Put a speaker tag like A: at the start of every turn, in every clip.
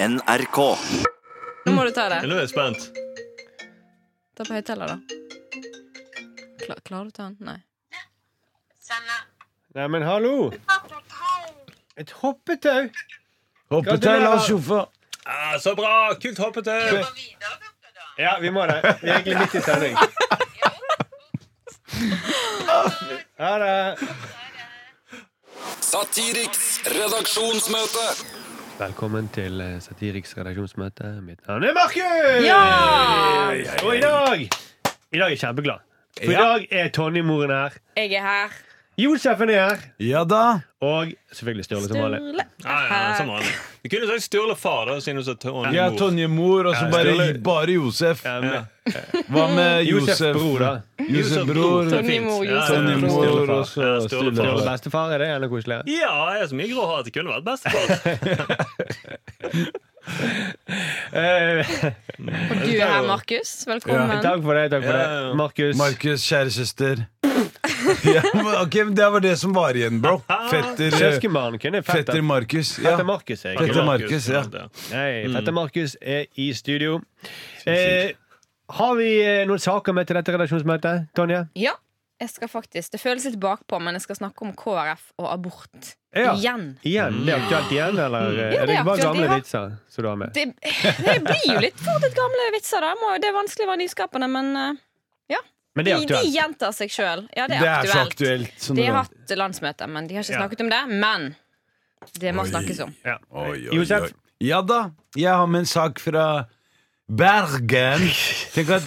A: NRK.
B: Nå må du ta det.
C: Nå er jeg spent.
B: Ta på høyttaler, da. Kla, klarer du ta den? Nei.
D: Nei, men hallo! Et hoppetau!
E: Hoppetau, Lars Sjåfør.
C: Ah, så bra! Kult hoppetau!
D: Ja, vi må det. Vi er egentlig midt i sending. Ha det.
F: Satiriks redaksjonsmøte.
D: Velkommen til eh, Satiriks redaksjonsmøte. Mitt navn er Markus!
B: Ja!
D: Og i dag I dag er jeg kjempeglad. For i dag er Tonje-moren her.
B: Jeg er her.
D: Josefen er her.
E: Ja da.
D: Og selvfølgelig Sturle som vanlig.
B: Sturle.
C: Ja, ja, som vanlig. Du kunne sagt Sturle far, da, siden du sa Tonje
E: Ja,
C: mor.
E: Tonje mor, og så
D: Ja,
E: bare,
D: Sturle-
E: bare Josef.
D: Ja, men-
E: Hva med
D: Josef
E: Josef?
D: bror, da.
E: Josef bror.
C: det er
B: Tonje
C: fint.
B: mor,
C: Ja, ja,
B: Josef
C: ja.
E: Tonje mor, og så
C: Ja, Sturle
E: Sturle.
D: Sturle bestefar, er det enda koseligere?
C: Ja, jeg er så mye grå hår at det kunne vært bestefar.
D: Eh,
B: Og du er her, Markus. Velkommen.
D: takk for det. takk for
C: Ja, ja.
D: det Markus.
E: Markus, kjære søster. Ja, men ok, men Det var det som var igjen, bro.
D: Ah,
E: Fetter, eh,
D: Søskenbarn kunne fett
E: fetter Markus. Ja.
D: Fetter Markus, jeg.
E: Fetter Markus, ja.
D: Nei,
C: Mm.
D: Fetter Markus er i studio. Eh, har vi eh, noen saker med til dette redaksjonsmøtet, Tonje?
B: Ja, jeg skal faktisk Det føles litt bakpå, men jeg skal snakke om KrF og abort.
D: Ja.
B: Igjen.
D: Igjen?
C: Mm.
D: Det er aktuelt igjen, eller eh,
B: Ja, det
D: er det
B: er
D: bare
B: aktuelt,
D: gamle
B: ja.
D: vitser som du har med?
B: Det, det blir jo litt fort et gamle vitser, da. Må, det er vanskelig å være nyskapende, men eh,
D: Men det
B: de,
D: er
B: de
D: aktuelt.
B: gjentar seg sjøl. Ja, det er,
E: Det er så
B: aktuelt.
E: aktuelt. som
B: De
E: det
B: har
E: var.
B: hatt landsmøte, men de har ikke
D: Ja.
B: snakket om det. Men det må
E: Oi.
B: snakkes om.
D: Ja.
E: Oi, oi,
D: Josef?
E: oi. Ja da. Jeg har med en sak fra Bergen. Tenk at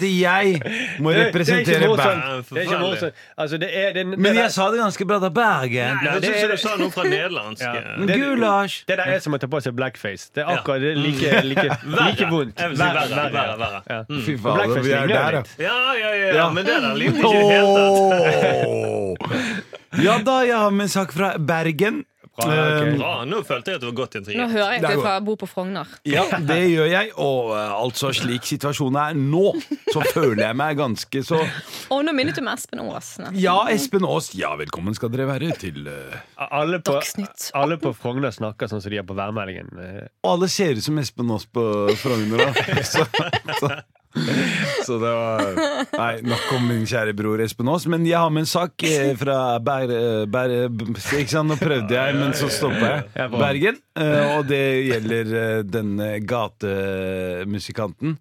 D: Det- det
E: jeg må
D: er ikke
E: representere Bergen.
D: morsomt. Det er ikke morsomt. Altså, det er, det, det,
E: Men jeg
D: der-
E: sa det ganske bra, da. Bergen.
D: Nei,
C: Jeg
D: det
C: syns
D: er-
C: du sa noe fra nederlandsk.
D: Ja.
C: eh,
E: Men
D: det-
E: Gulasj.
D: det der er som å ta på seg blackface. Det er akkurat det er like, like, like
C: Mm.
D: vondt.
C: Jeg vil si verre, verre, verre.
D: Ja.
E: Fy
D: Og
E: fader,
D: blackface
E: vi er
D: ligner jo
E: der, ja.
D: litt.
C: Ja, ja, ja, ja,
E: Ja.
C: men det der liker ikke i det hele tatt.
E: Ja da, jeg har med en sak fra Bergen.
D: Bra, ok.
E: Eh,
C: Bra, nå følte jeg at det var godt
B: Nå
C: intrigue.
B: hører jeg
E: Det
B: at
E: er
B: du fra- bor på Frogner.
E: Ja, det gjør jeg. Og eh, altså, slik situasjonen er nå, så føler jeg meg ganske så
B: Og nå minnet du med Espen Aas. nesten.
E: Ja, Espen Aas, ja, velkommen skal dere være til eh,
D: Alle på,
B: Dagsnytt.
D: alle på Frogner snakker sånn som de gjør på værmeldingen. Eh,
E: Og alle ser ut som Espen Aas på Frogner, da. Så, så, så det var Nei, nok om min kjære bror Espen Aas. Men jeg har med en sak eh, fra Ber... eh, Ber ikke sant, nå prøvde jeg, men så stoppa
D: Ja,
E: jeg.
D: bra.
E: Bergen. eh, Og det gjelder eh, denne gatemusikanten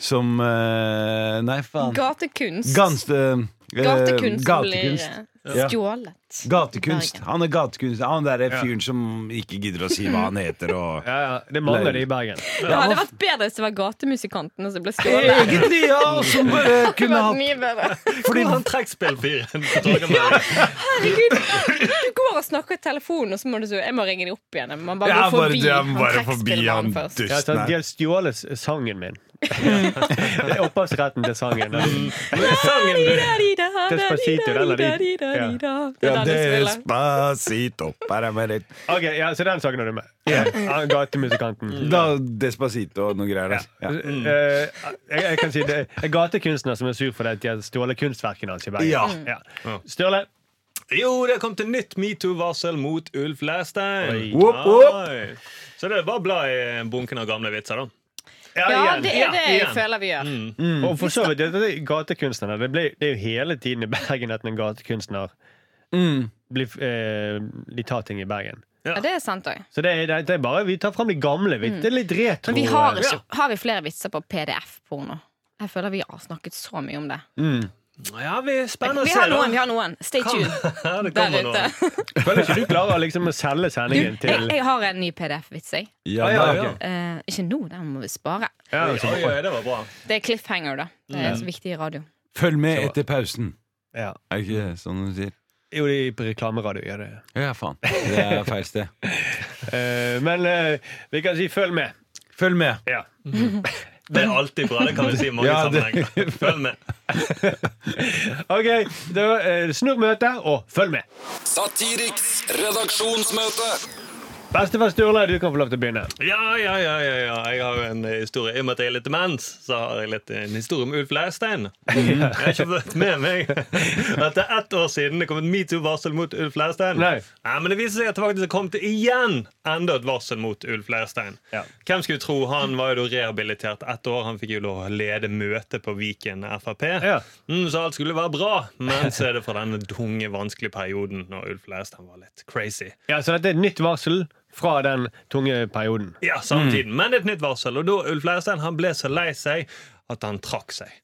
E: som eh, Nei, faen.
B: Gatekunst.
E: Ganske eh,
B: gatekunst,
E: gatekunst.
B: blir eh,
E: Ja.
B: stjålet.
E: Gatekunst.
B: Bergen.
E: Han er gatekunst. Han der er fyren som ikke gidder å si hva han heter. Og
D: Ja, ja, det mangler de i Bergen.
B: Det hadde vært bedre hvis det var gatemusikantene som ble stjålet.
E: Egentlig, ja! og Som bare
B: Det hadde vært
E: kunne hatt
B: mye bedre.
E: Fordi
C: Han trekkspillfyren på Torgallmenn.
B: Herregud, du går og snakker i telefonen, og så må du så Jeg må ringe dem opp igjen. Man bare
E: Jeg
B: går
E: bare-
B: forbi
E: jeg må bare
B: han
E: forbi
B: trekkspillmannen
E: han
B: først.
D: Ja,
E: dusten
D: så de
E: her.
D: har stjålet s- sangen min. Det er opphavsretten til sangen.
C: Sangen du
D: Despacito, den er de-
B: Det
E: Ja,
B: er den de spiller.
E: Despacito Bare med litt.
D: Ok, ja, Så den sangen har du med. Ja,
B: Mm.
D: Gatemusikanten.
E: Da Despacito og noe greier der. Mm. Ja.
D: Eh, jeg, jeg kan si det er gatekunstner som er sur for det at de har stjålet kunstverkene hans i Bergen.
E: Ja.
D: Ja. Sturle.
C: Jo, det kom til nytt metoo-varsel mot Ulf Leirstein.
D: Oi.
E: Whoop, whoop.
C: Oi. Så det er bare å bla i bunken av gamle vitser, da. Mm.
B: Ja,
D: igjen.
B: det er det jeg
C: igjen.
B: føler vi
E: Mm.
B: gjør.
D: Og for så vidt, det, det, gatekunstnerne det, ble, det er jo hele tiden i Bergen at en gatekunstner
B: Mm.
D: blir, eh, De tar ting i Bergen.
B: Ja, det er sant òg.
D: Så det er, det er bare, vi tar fram de gamle. Vi. Det er litt retro.
B: Mm. Men vi har,
D: eh,
B: ikke, har vi flere vitser på PDF-porno? Jeg føler vi har snakket så mye om det.
D: Mm.
C: Ja, vi er spennende å
B: Vi
C: se.
B: har
C: da.
B: noen, vi har noen. Stay tuned
C: Ja, det
B: der
C: kommer noen.
B: ute.
D: Føler ikke du klarer liksom å selge sendingen
B: Du, jeg,
D: til
B: jeg har en ny PDF-vits, jeg.
E: Ja,
D: ja,
E: da.
D: ok.
B: Eh, ikke nå, den må vi spare.
D: ja, altså, så,
C: Oi, oi, det var bra.
B: Det er cliffhanger, da. Det er så viktig i radio.
E: Følg med etter pausen.
D: ja.
E: Er det ikke sånn du sier?
D: Jo, de på reklameradio gjør det.
E: Ja, faen. Det er feil sted.
D: Eh, men eh, vi kan si følg med.
E: Følg med.
D: Ja.
C: Det er alltid bra. Det kan vi si i mange
E: Ja, det-
C: sammenhenger. Følg med.
D: OK, da uh, snurr møtet, og følg med.
F: Satiriks redaksjonsmøte.
D: Bestefar Sturle, du kan få lov til å begynne.
C: Ja, ja, ja, ja, ja. Jeg har jo en eh, historie. I og med at jeg er litt demens, så har jeg litt eh, en historie om Ulf Leirstein.
D: Mm.
C: Jeg har ikke fått med meg at det er ett år siden det kom et metoo-varsel mot Ulf Leirstein.
D: Nei.
C: men det viser seg at det faktisk har kommet igjen Enda et varsel mot Ulf Leirstein.
D: Ja.
C: Hvem skulle tro han var jo da rehabilitert ett år. Han fikk jo lov å lede møtet på Viken Frp.
D: Ja.
C: Mm, så alt skulle være bra. Men så er det fra denne tunge, vanskelige perioden når Ulf Leirstein var litt crazy.
D: Ja, Så dette er et nytt varsel fra den tunge perioden.
C: Ja, samtidig. Men det er et nytt varsel. Og da Ulf Leirstein han ble så lei seg at han trakk seg.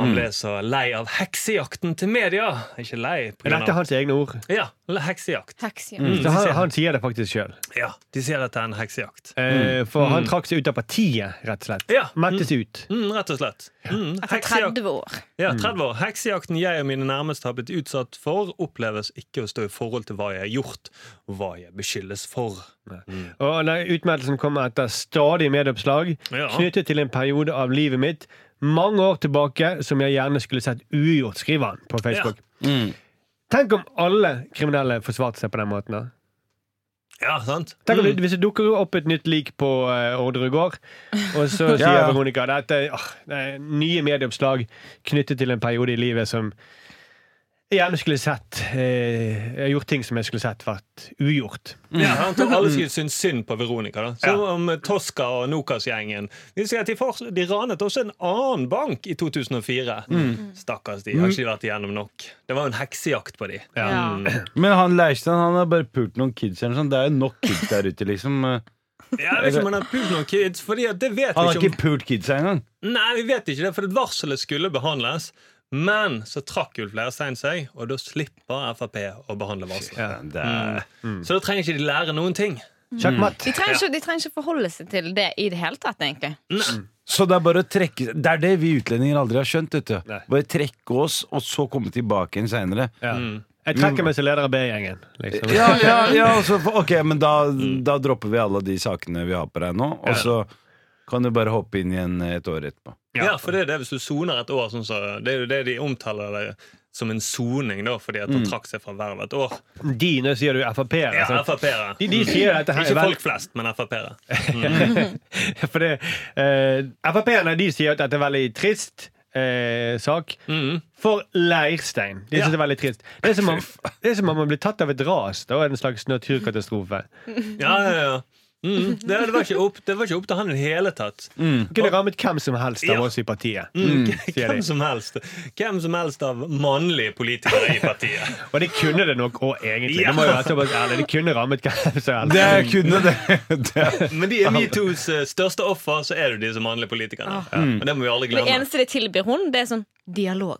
C: Han ble så lei av heksejakten til media. Ikke lei. på
D: Men
C: grunn
D: dette er
C: av-
D: hans egne ord.
C: Ja, eller heksejakt.
B: Heks, ja.
C: Mm.
D: Så han, han sier det faktisk sjøl.
C: Ja, De sier dette er en heksejakt.
D: Eh, for han trakk seg ut av partiet, rett og slett.
C: Mm. Ja.
D: Mettes ut.
C: Mm, rett og slett. Mm,
B: Etter
C: heksejakt.
B: 30 år.
C: Ja, 30 år. Heksejakten jeg og mine nærmeste har blitt utsatt for, oppleves ikke å stå i forhold til hva jeg har gjort, og hva jeg beskyldes for.
D: Og denne utmeldelsen kommer etter stadige medieoppslag
C: Ja.
D: knyttet til en periode av livet mitt mange år tilbake som jeg gjerne skulle sett ugjort, skriver han på Facebook.
C: Mm.
D: Tenk om alle kriminelle forsvarte seg på den måten. da.
C: Ja, sant?
D: Tenk om
C: Mm.
D: det, Hvis det dukker opp et nytt lik på eh, Orderud gård, og så sier
E: Ja, ja.
D: Veronica at det er nye medieoppslag knyttet til en periode i livet som jeg gjerne skulle sett eh, Jeg har gjort ting som jeg skulle sett vært ugjort.
C: Ja, sant? Og alle skulle synes synd på Veronica. da Som om eh, Tosca og Nokas-gjengen. De sier at de, for, de ranet også en annen bank i 2004. Stakkars, de har ikke vært igjennom nok. Det var jo en heksejakt på de Mm.
B: Ja.
E: Men han Leirstein han har bare pult noen kids. Eller noe sånt. Det er jo nok kids der ute, liksom. Han
C: Jeg vet ikke om han har pult noen kids, Fordi at det vet vi
E: har
C: ikke om
E: ikke pult kidsa engang.
C: Nei, vi vet ikke det, for varselet skulle behandles. Men så trakk Ulf Leirstein seg, og da slipper Frp å behandle varselet. Eh,
D: Ja.
E: Det er-
C: Så da trenger ikke de lære noen ting.
B: Mm.
D: Sjakkmatt.
B: De trenger, ikke, de trenger ikke forholde seg til det i det hele tatt, egentlig.
E: Så det er bare å trekke Det er det vi utlendinger aldri har skjønt. Vet du.
D: Nei.
E: Bare trekke oss, og så komme tilbake igjen seinere.
D: Ja.
C: Mm.
D: Jeg trekker meg som leder av B-gjengen. Liksom.
E: Ja, Mm. ja, ja, og så- ok, men da, da dropper vi alle de sakene vi har på deg nå, og så kan du bare hoppe inn igjen et år etterpå.
C: Ja, for det er det hvis du soner et år. Sånn så, det er jo det de omtaler det som en soning, da, fordi at han trakk seg fra vervet et år.
D: De, nå sier du Frp-ere.
C: Ja,
D: Mm. sant?
C: Frp-ere.
D: altså. De, de sier dette her
C: Ikke
D: er vel-
C: folk flest, men Frp-ere.
D: For det, eh, Frp-erne de sier at dette er en veldig trist eh, sak. For Leirstein. De
C: Mm. Ja.
D: synes det er veldig trist. Det er som om, det er som om man blir tatt av et ras. Da er det en slags naturkatastrofe.
C: Ja, ja, ja. Mm. Det, det, var ikke opp, det var ikke opp til han i det hele tatt.
D: Det kunne rammet hvem som helst
C: Mm. Ja.
D: av
C: Mm.
D: oss i partiet. Mm, sier
C: Hvem
D: de.
C: som helst Hvem som helst av mannlige politikere i partiet.
D: Og det kunne det nok òg, egentlig.
C: Ja.
D: Det må jo være såpass ærlig. Det kunne rammet hvem som helst.
E: Det kunne det!
C: Men de er metoos eh, største offer, så er det de som mannlige politikerne.
D: Mm.
C: Og det må vi aldri
B: Det
C: glemme.
B: eneste de tilbyr hun, det er sånn dialog.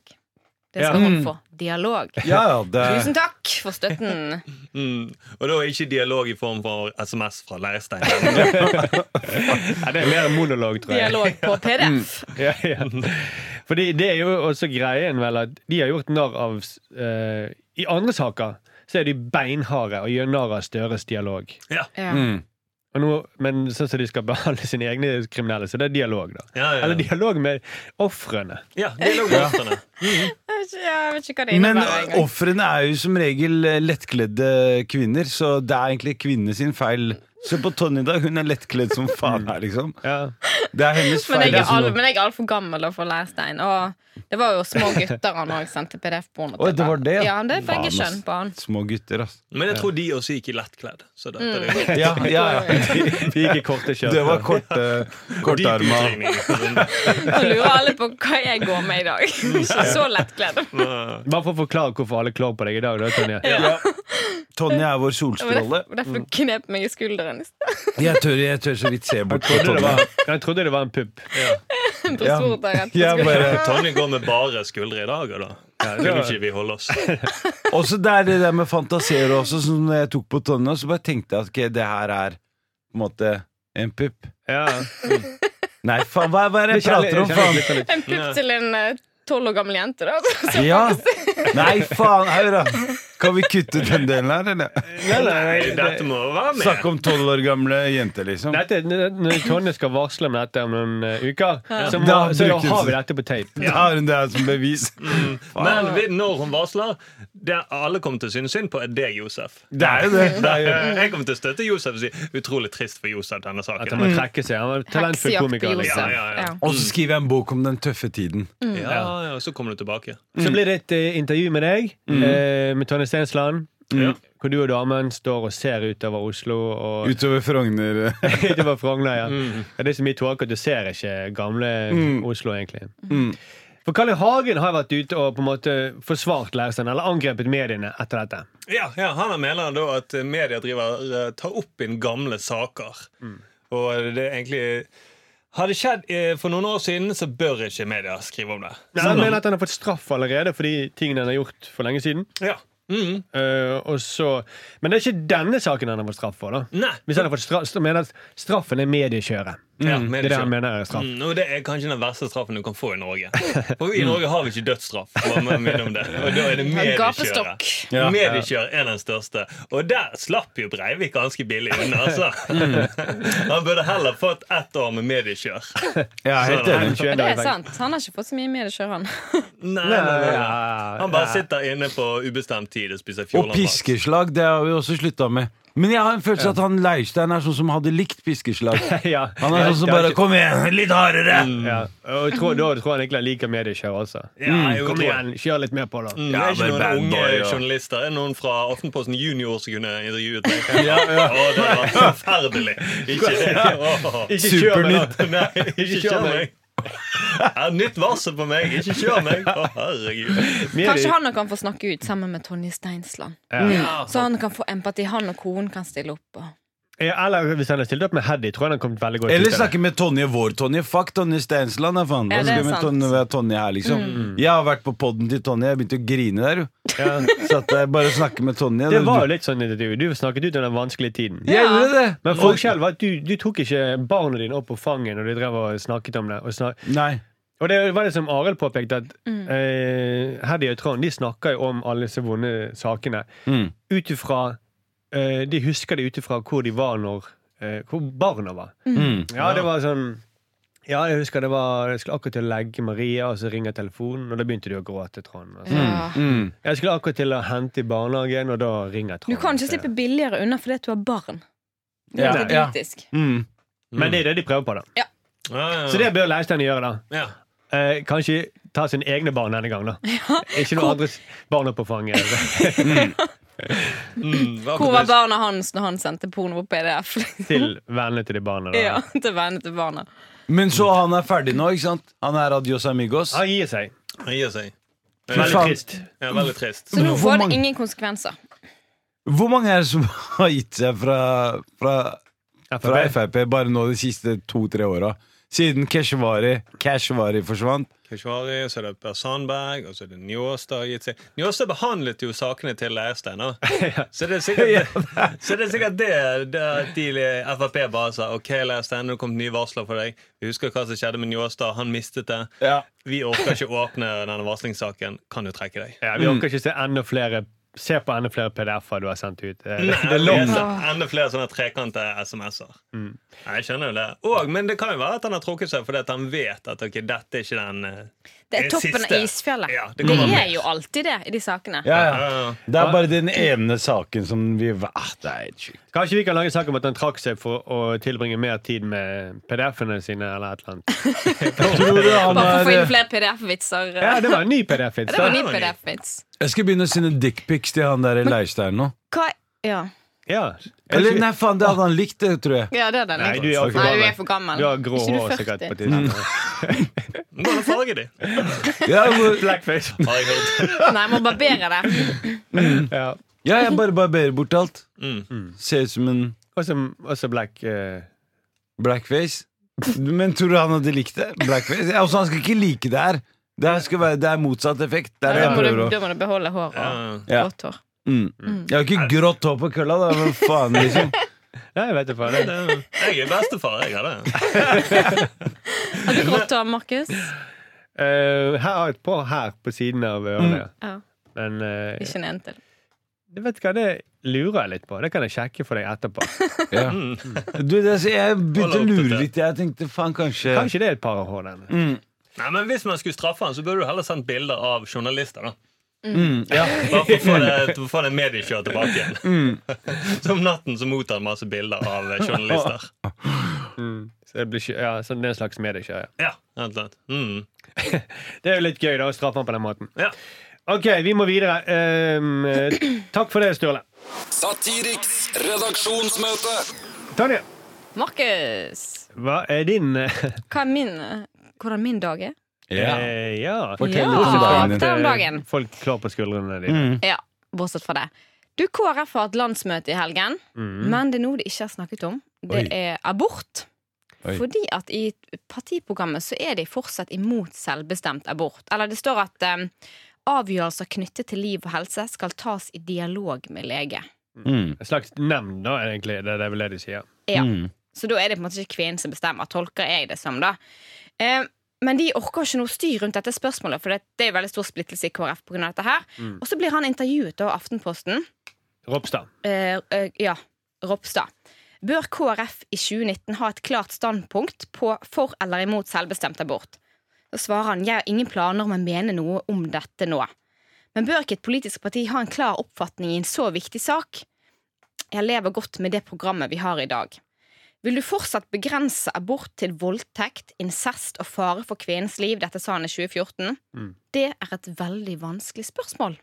B: Det
D: Ja.
B: skal hun få. Dialog.
E: Ja, ja, det
B: Tusen takk for støtten.
C: Mm. Og da er ikke dialog i form for SMS fra Leirstein.
D: Ja, det er mer en monolog, tror jeg.
B: Dialog på PDF.
D: Ja, ja. Fordi det er jo også greien vel at de har gjort narr av eh, I andre saker så er de beinharde og gjør narr av Støres dialog.
C: ja.
B: Ja.
E: mm.
D: Og nå, men sånn som de skal behandle sine egne kriminelle, så det er dialog, da.
C: Ja, ja, ja.
D: Eller dialog med ofrene.
C: ja, dialog med ofrene.
B: Jeg vet ikke- jeg vet ikke hva det
E: Men
B: innebærer engang.
E: ofrene er jo som regel eh, lettkledde kvinner, så det er egentlig kvinnene sin feil. Se på Tonje, da. Hun er lettkledd som faen her, liksom.
D: Ja.
E: Det er hennes
B: Men
E: feil.
B: jeg er,
E: liksom.
B: all, men jeg er altfor gammel da for Leirstein. Og det var jo små gutter han òg sendte PDF-porno
E: Oi, det var det, ja.
B: ja. ja. Det er
E: Faen,
B: begge
E: ass.
B: kjønn på han.
E: Små gutter, altså.
C: Men jeg tror de også gikk i lettkledd. Så dette er jo
E: Ja, ja, ja.
D: De gikk i korte skjørt.
E: Det var korte,
C: dyp
E: kortarma.
C: utringning.
B: Nå lurer alle på hva jeg går med i dag. Ikke så lettkledd.
D: Bare for å forklare hvorfor alle klår på deg i dag, da, Tonje.
E: Tonje er vår
B: Det var
E: solstråle.
B: derfor- derfor du knep meg i skulderen. i sted.
E: Jeg tør, jeg tør så vidt se bort på
D: Jeg trodde det
E: Tonje.
D: var- Jeg trodde det var en pupp.
B: Brosor der rett på
E: Jeg
B: skulderen.
E: bare,
C: Eh, Tonje går med bare skuldre i dag, og da kunne ikke vi holde oss.
E: også det er det der med fantasier også, som når jeg tok på Tonje, så bare tenkte jeg at ok, det her er på en måte en pupp.
D: Ja.
E: Nei, faen, hva, hva er det jeg
D: kjenner-
E: prater om,
D: kjenner
E: faen?
D: litt sånn ut.
B: En pupp til en eh, tolv år gammel jente, da.
E: Ja. Nei, faen, hør da. Kan vi kutte ut den delen her, eller?
D: Nei, nei, nei, det-
C: Dette må være med.
E: Snakke om tolv år gamle jenter, liksom.
D: Dette, når Tonje skal varsle om dette om noen eh, uker, så, må,
E: Da
D: så
E: brukes det.
D: har vi dette på tape.
E: Da har hun det her som bevis.
C: Men vi- når hun varsler, det alle kommer til å synes synd på, er det Josef.
E: Det er jo det. det er jo.
C: Eh, Jeg kommer til å støtte Josef og si utrolig trist for Josef denne
D: At han
C: saken.
E: Mm.
D: må trekke seg. Han var talentfull
B: Heksejakt på
D: komiker. Liksom.
B: Josef.
C: Ja, ja, ja.
B: Ja.
E: Og så skriver jeg en bok om den tøffe tiden.
C: Ja, ja, Så kommer du tilbake.
D: Så blir det et eh, intervju med deg, eh, med Tonje Stensland.
C: Mm. Ja.
D: Hvor du og damen står og ser utover Oslo og
E: Utover Frogner.
D: utover Frogner. Ja.
C: Mm.
D: Ja, Det er så mye tåke at du ser ikke gamle Oslo, egentlig.
C: Mm.
D: For Kalle Hagen har vært ute og på en måte forsvart lærerstanden, eller angrepet mediene etter dette.
C: Ja, ja han mener da at media driver eh, tar opp inn gamle saker.
E: Mm.
C: Og det er egentlig Hadde skjedd eh, for noen år siden, så bør ikke media skrive om det.
D: Men han mener at han har fått straff allerede for de tingene han har gjort for lenge siden.
C: Ja. Mhm.
D: Eh, og så, men det er ikke denne saken han har fått straff for. da
C: Nei.
D: Hvis han har fått straff, så mener han at straffen er mediekjøret.
C: Ja,
D: det er det han mener er straff.
C: Mm, og det er kanskje den verste straffen du kan få i Norge. For
E: Mm.
C: i Norge har vi ikke dødsstraff. bare med å minne om det. Og da er det mediekjøret.
B: Gapestokk.
E: Ja.
C: Mediekjør er den største. Og der slapp jo Breivik ganske billig unna, altså.
E: Mm.
C: Han burde heller fått ett år med mediekjør.
E: Ja, helt
C: Sånn.
E: enig.
B: Men det er sant. Han har ikke fått så mye mediekjør, han.
C: Nei, nei, nei, nei.
D: Ja,
C: Han bare sitter inne på ubestemt tid og spiser
E: Og
C: fjordlandbrød.
E: piskeslag, det har vi også slutta med. Men jeg har en følelse at han Leirstein er sånn som hadde likt piskeslag.
D: ja. Mm,
E: Han er sånn som bare 'kom igjen, litt hardere'!
D: Ja. Og jeg tror, da tror jeg han egentlig liker mediekjør også.
C: Ja, jo,
D: altså. Kom
C: tror jeg.
D: igjen, kjør litt mer på, da.
C: Mm,
E: Ja,
C: det er
E: men
C: ikke noen
E: bad
C: unge
E: boy, ja.
C: journalister. Er det noen fra Aftenposten Junior som kunne intervjuet meg? Å, det var forferdelig! Ikke det. Åh.
D: Ikke kjør meg, da.
C: Nei, ikke kjør meg! Ja, nytt varsel på meg! Ikke kjør meg! Å, herregud.
B: Kanskje han og kan få snakke ut sammen med Tonje Steinsland.
D: Ja.
B: Så han kan få empati. Han og konen kan stille opp. Og...
D: Eller hvis han hadde stilt opp med Heddy, tror jeg han hadde kommet veldig godt
E: Eller
D: ut av det.
E: snakke med Tonje vår Tonje. Fuck Tonje Steinsland, da, faen.
B: Ja, det
E: Hva
B: er
E: skal vi med
B: sant. Mm.
E: Tonje, være Tonje her, liksom? Jeg har vært på poden til Tonje. Jeg begynte å grine der, jo. Satt der bare og snakke med Tonje.
D: Det var jo litt sånn intervju. Du snakket ut om den vanskelige tiden.
E: Jeg gjorde det!
D: Men forskjellen var at du, du tok ikke barna dine opp på fanget når de drev og snakket om det. Og, snak
E: Nei.
D: og det var det som Arild påpekte, at eh, Heddy og Trond de snakker jo om alle disse vonde sakene.
E: Mm.
D: Ut ifra eh, De husker det ut ifra hvor de var når eh, Hvor barna var.
E: Mm.
D: Ja, det var sånn ja, jeg husker det var, jeg skulle akkurat til å legge Maria, og så ringer telefonen, og da begynte du å gråte, Trond. Og så-
B: Ja.
E: Mm.
D: Jeg skulle akkurat til å hente i barnehagen, og da ringer
B: Du
D: Trond.
B: kan ikke slippe billigere unna fordi at du har barn. Det
E: Ja,
B: er litt
E: ja.
B: idiotisk.
E: Mm.
D: Men det er det de prøver på, da.
C: Ja, ja, ja.
D: Så det bør Leirstein gjøre, da.
C: ja.
D: Eh, kanskje ta sine egne barn denne gangen, da. Ikke noen andres barn opp på fanget.
C: Mm, hva-
B: Hvor var barna hans når han sendte porno på PDF?
D: til vennene til de barna. Da.
B: ja, til vennene til barna.
E: Men så han er ferdig nå, ikke sant? Han er adios amigos.
D: Han gir seg.
C: Han gir seg.
D: Veldig
E: faen.
D: trist.
C: Ja, veldig trist.
B: Så nå
E: Hvor
B: får det
E: mange-
B: ingen konsekvenser.
E: Hvor mange er det som har gitt seg fra, fra, fra
D: FrP.
E: Frp bare nå de siste to-tre åra? Siden Keshvari, Keshvari forsvant?
C: Keshvari, så er det Per Sandberg, og så er det Njåstad har gitt seg. Njåstad behandlet jo sakene til Leirstein, da. Så det er sikkert, så det, er sikkert det, det at de i Frp bare sa OK, Leirstein, nå kom det nye varsler for deg. Vi husker hva som skjedde med Njåstad. Han mistet det.
E: Ja.
C: Vi orker ikke åpne denne varslingssaken. Kan du trekke deg?
D: Ja, vi orker ikke se enda flere Se på enda flere PDF-er du har sendt ut. Eh, Det er
C: Jeg
D: langt. Mm.
C: leser Enda flere sånne trekante SMS-er. Nei, Jeg skjønner jo det. Og, men det kan jo være at han har trukket seg fordi at han vet at ok, dette er ikke den eh,
B: Det er
C: Den
B: toppen av
C: siste.
B: isfjellet.
C: Ja, det
B: det,
C: kommer
B: er jo alltid det i de sakene.
E: Ja,
C: ja,
E: ja.
C: ja.
E: Det er bare den ene saken som vi ah, Det er helt sjukt.
D: Kanskje vi kan lage en sak om at han trakk seg for å tilbringe mer tid med PDF-ene sine, eller et eller annet.
E: Tror du han
B: Bare for å få inn
E: er
B: flere PDF-vitser.
D: Ja,
B: Ja,
D: det var en ny PDF-vits.
B: det var ny
C: det var ny.
B: PDF-vits.
E: eh, Jeg skal begynne å sende dickpics til han der i Leirstein nå.
B: Hva Ja,
D: Ja.
E: Eller nei, faen, det hadde han likt, det, tror jeg.
B: ja det er den.
D: Nei,
B: jeg.
D: du er jo for
B: Nei,
D: gammel.
B: du er for gammel.
D: Du har grå
B: Ikke du
D: hår
B: 40?
D: sikkert på tiden.
C: Hvordan farger de?
E: Ja, hvor-
D: Blackface.
C: Har jeg hørt.
B: Nei, jeg må barbere det.
D: Ja.
E: ja jeg bare barberer bort alt.
C: Mm.
E: Ser ut som en
D: Også, også black eh,
E: blackface. Men tror du han hadde likt det? Blackface? Ja, altså, han skal ikke like det her. Det, her skal være, det er motsatt effekt. Det er
B: Da
E: det jeg
B: må du,
E: prøver å
B: da må du beholde håret
C: Ja.
B: og
E: Ja.
B: grått hår.
E: Mm. Jeg har ikke grått hår på kølla, da. Men faen, liksom.
D: Nei, jeg vet ikke hva det er.
C: Det- Jeg er bestefar, jeg har det.
B: Har du grått hår, Markus?
D: Eh, her har jeg et par her på siden av ørene.
B: Ja.
D: Men eh,
B: Ikke en en til.
D: jeg vet hva, det lurer jeg litt på. Det kan jeg sjekke for deg etterpå.
E: Ja.
B: Mm.
E: Du, det, er så- jeg begynte å
C: Hold opp,
E: lure
C: dette.
E: litt. Jeg tenkte faen, kanskje
D: Kanskje det er et par av hårene.
C: Nei, men Hvis man skulle straffe han, så burde du heller sendt bilder av journalister. da
E: mm, ja. Mm.
C: Bare for å få det, for å få det mediekjøret tilbake igjen. Så om natten så mottar han masse bilder av eh, journalister.
D: Så det blir ikke, ja, så det er en slags mediekjør.
C: Ja, rett og slett. Mm.
D: Ja. Det er jo litt gøy da, å straffe ham på den måten.
C: Ja.
D: OK, vi må videre. Ehm, eh, takk for det, Sturle.
F: Satiriks redaksjonsmøte.
D: Tonje,
B: Markus,
D: hva er din eh,
B: hva er min, hvordan min dag er?
D: eh, Ja. Eh,
E: Fortell
B: Ja,
E: litt om dagen Mm, din.
B: fortell om dagen.
D: Folk klår på skuldrene dine.
B: Ja, bortsett fra det. Du, KrF har hatt landsmøte i helgen,
D: Mm.
B: men det er noe de ikke har snakket om. Det
E: Mm. Oi.
B: er abort.
E: Oi.
B: Fordi at i partiprogrammet så er de fortsatt imot selvbestemt abort. Eller det står at eh, avgjørelser knyttet til liv og helse skal tas i dialog med lege.
E: Mm.
D: En slags nemnd, da, egentlig. Det er vel det de sier.
B: Ja.
E: Mm.
B: Så da er det på en måte ikke kvinnen som bestemmer, tolker jeg det som. da eh, Men de orker ikke noe styr rundt dette spørsmålet, for det, det er veldig stor splittelse i KrF pga. dette her.
E: Mm.
B: Og så blir han intervjuet av Aftenposten.
D: Ropstad.
B: Eh, eh, ja, Ropstad. Bør KrF i 2019 ha et klart standpunkt på for eller imot selvbestemt abort? Så svarer han jeg har ingen planer om å mene noe om dette nå. Men bør ikke et politisk parti ha en klar oppfatning i en så viktig sak? Jeg lever godt med det programmet vi har i dag. Vil du fortsatt begrense abort til voldtekt, incest og fare for kvinnens liv? Dette sa han i 2014.
D: Mm.
B: Det er et veldig vanskelig spørsmål.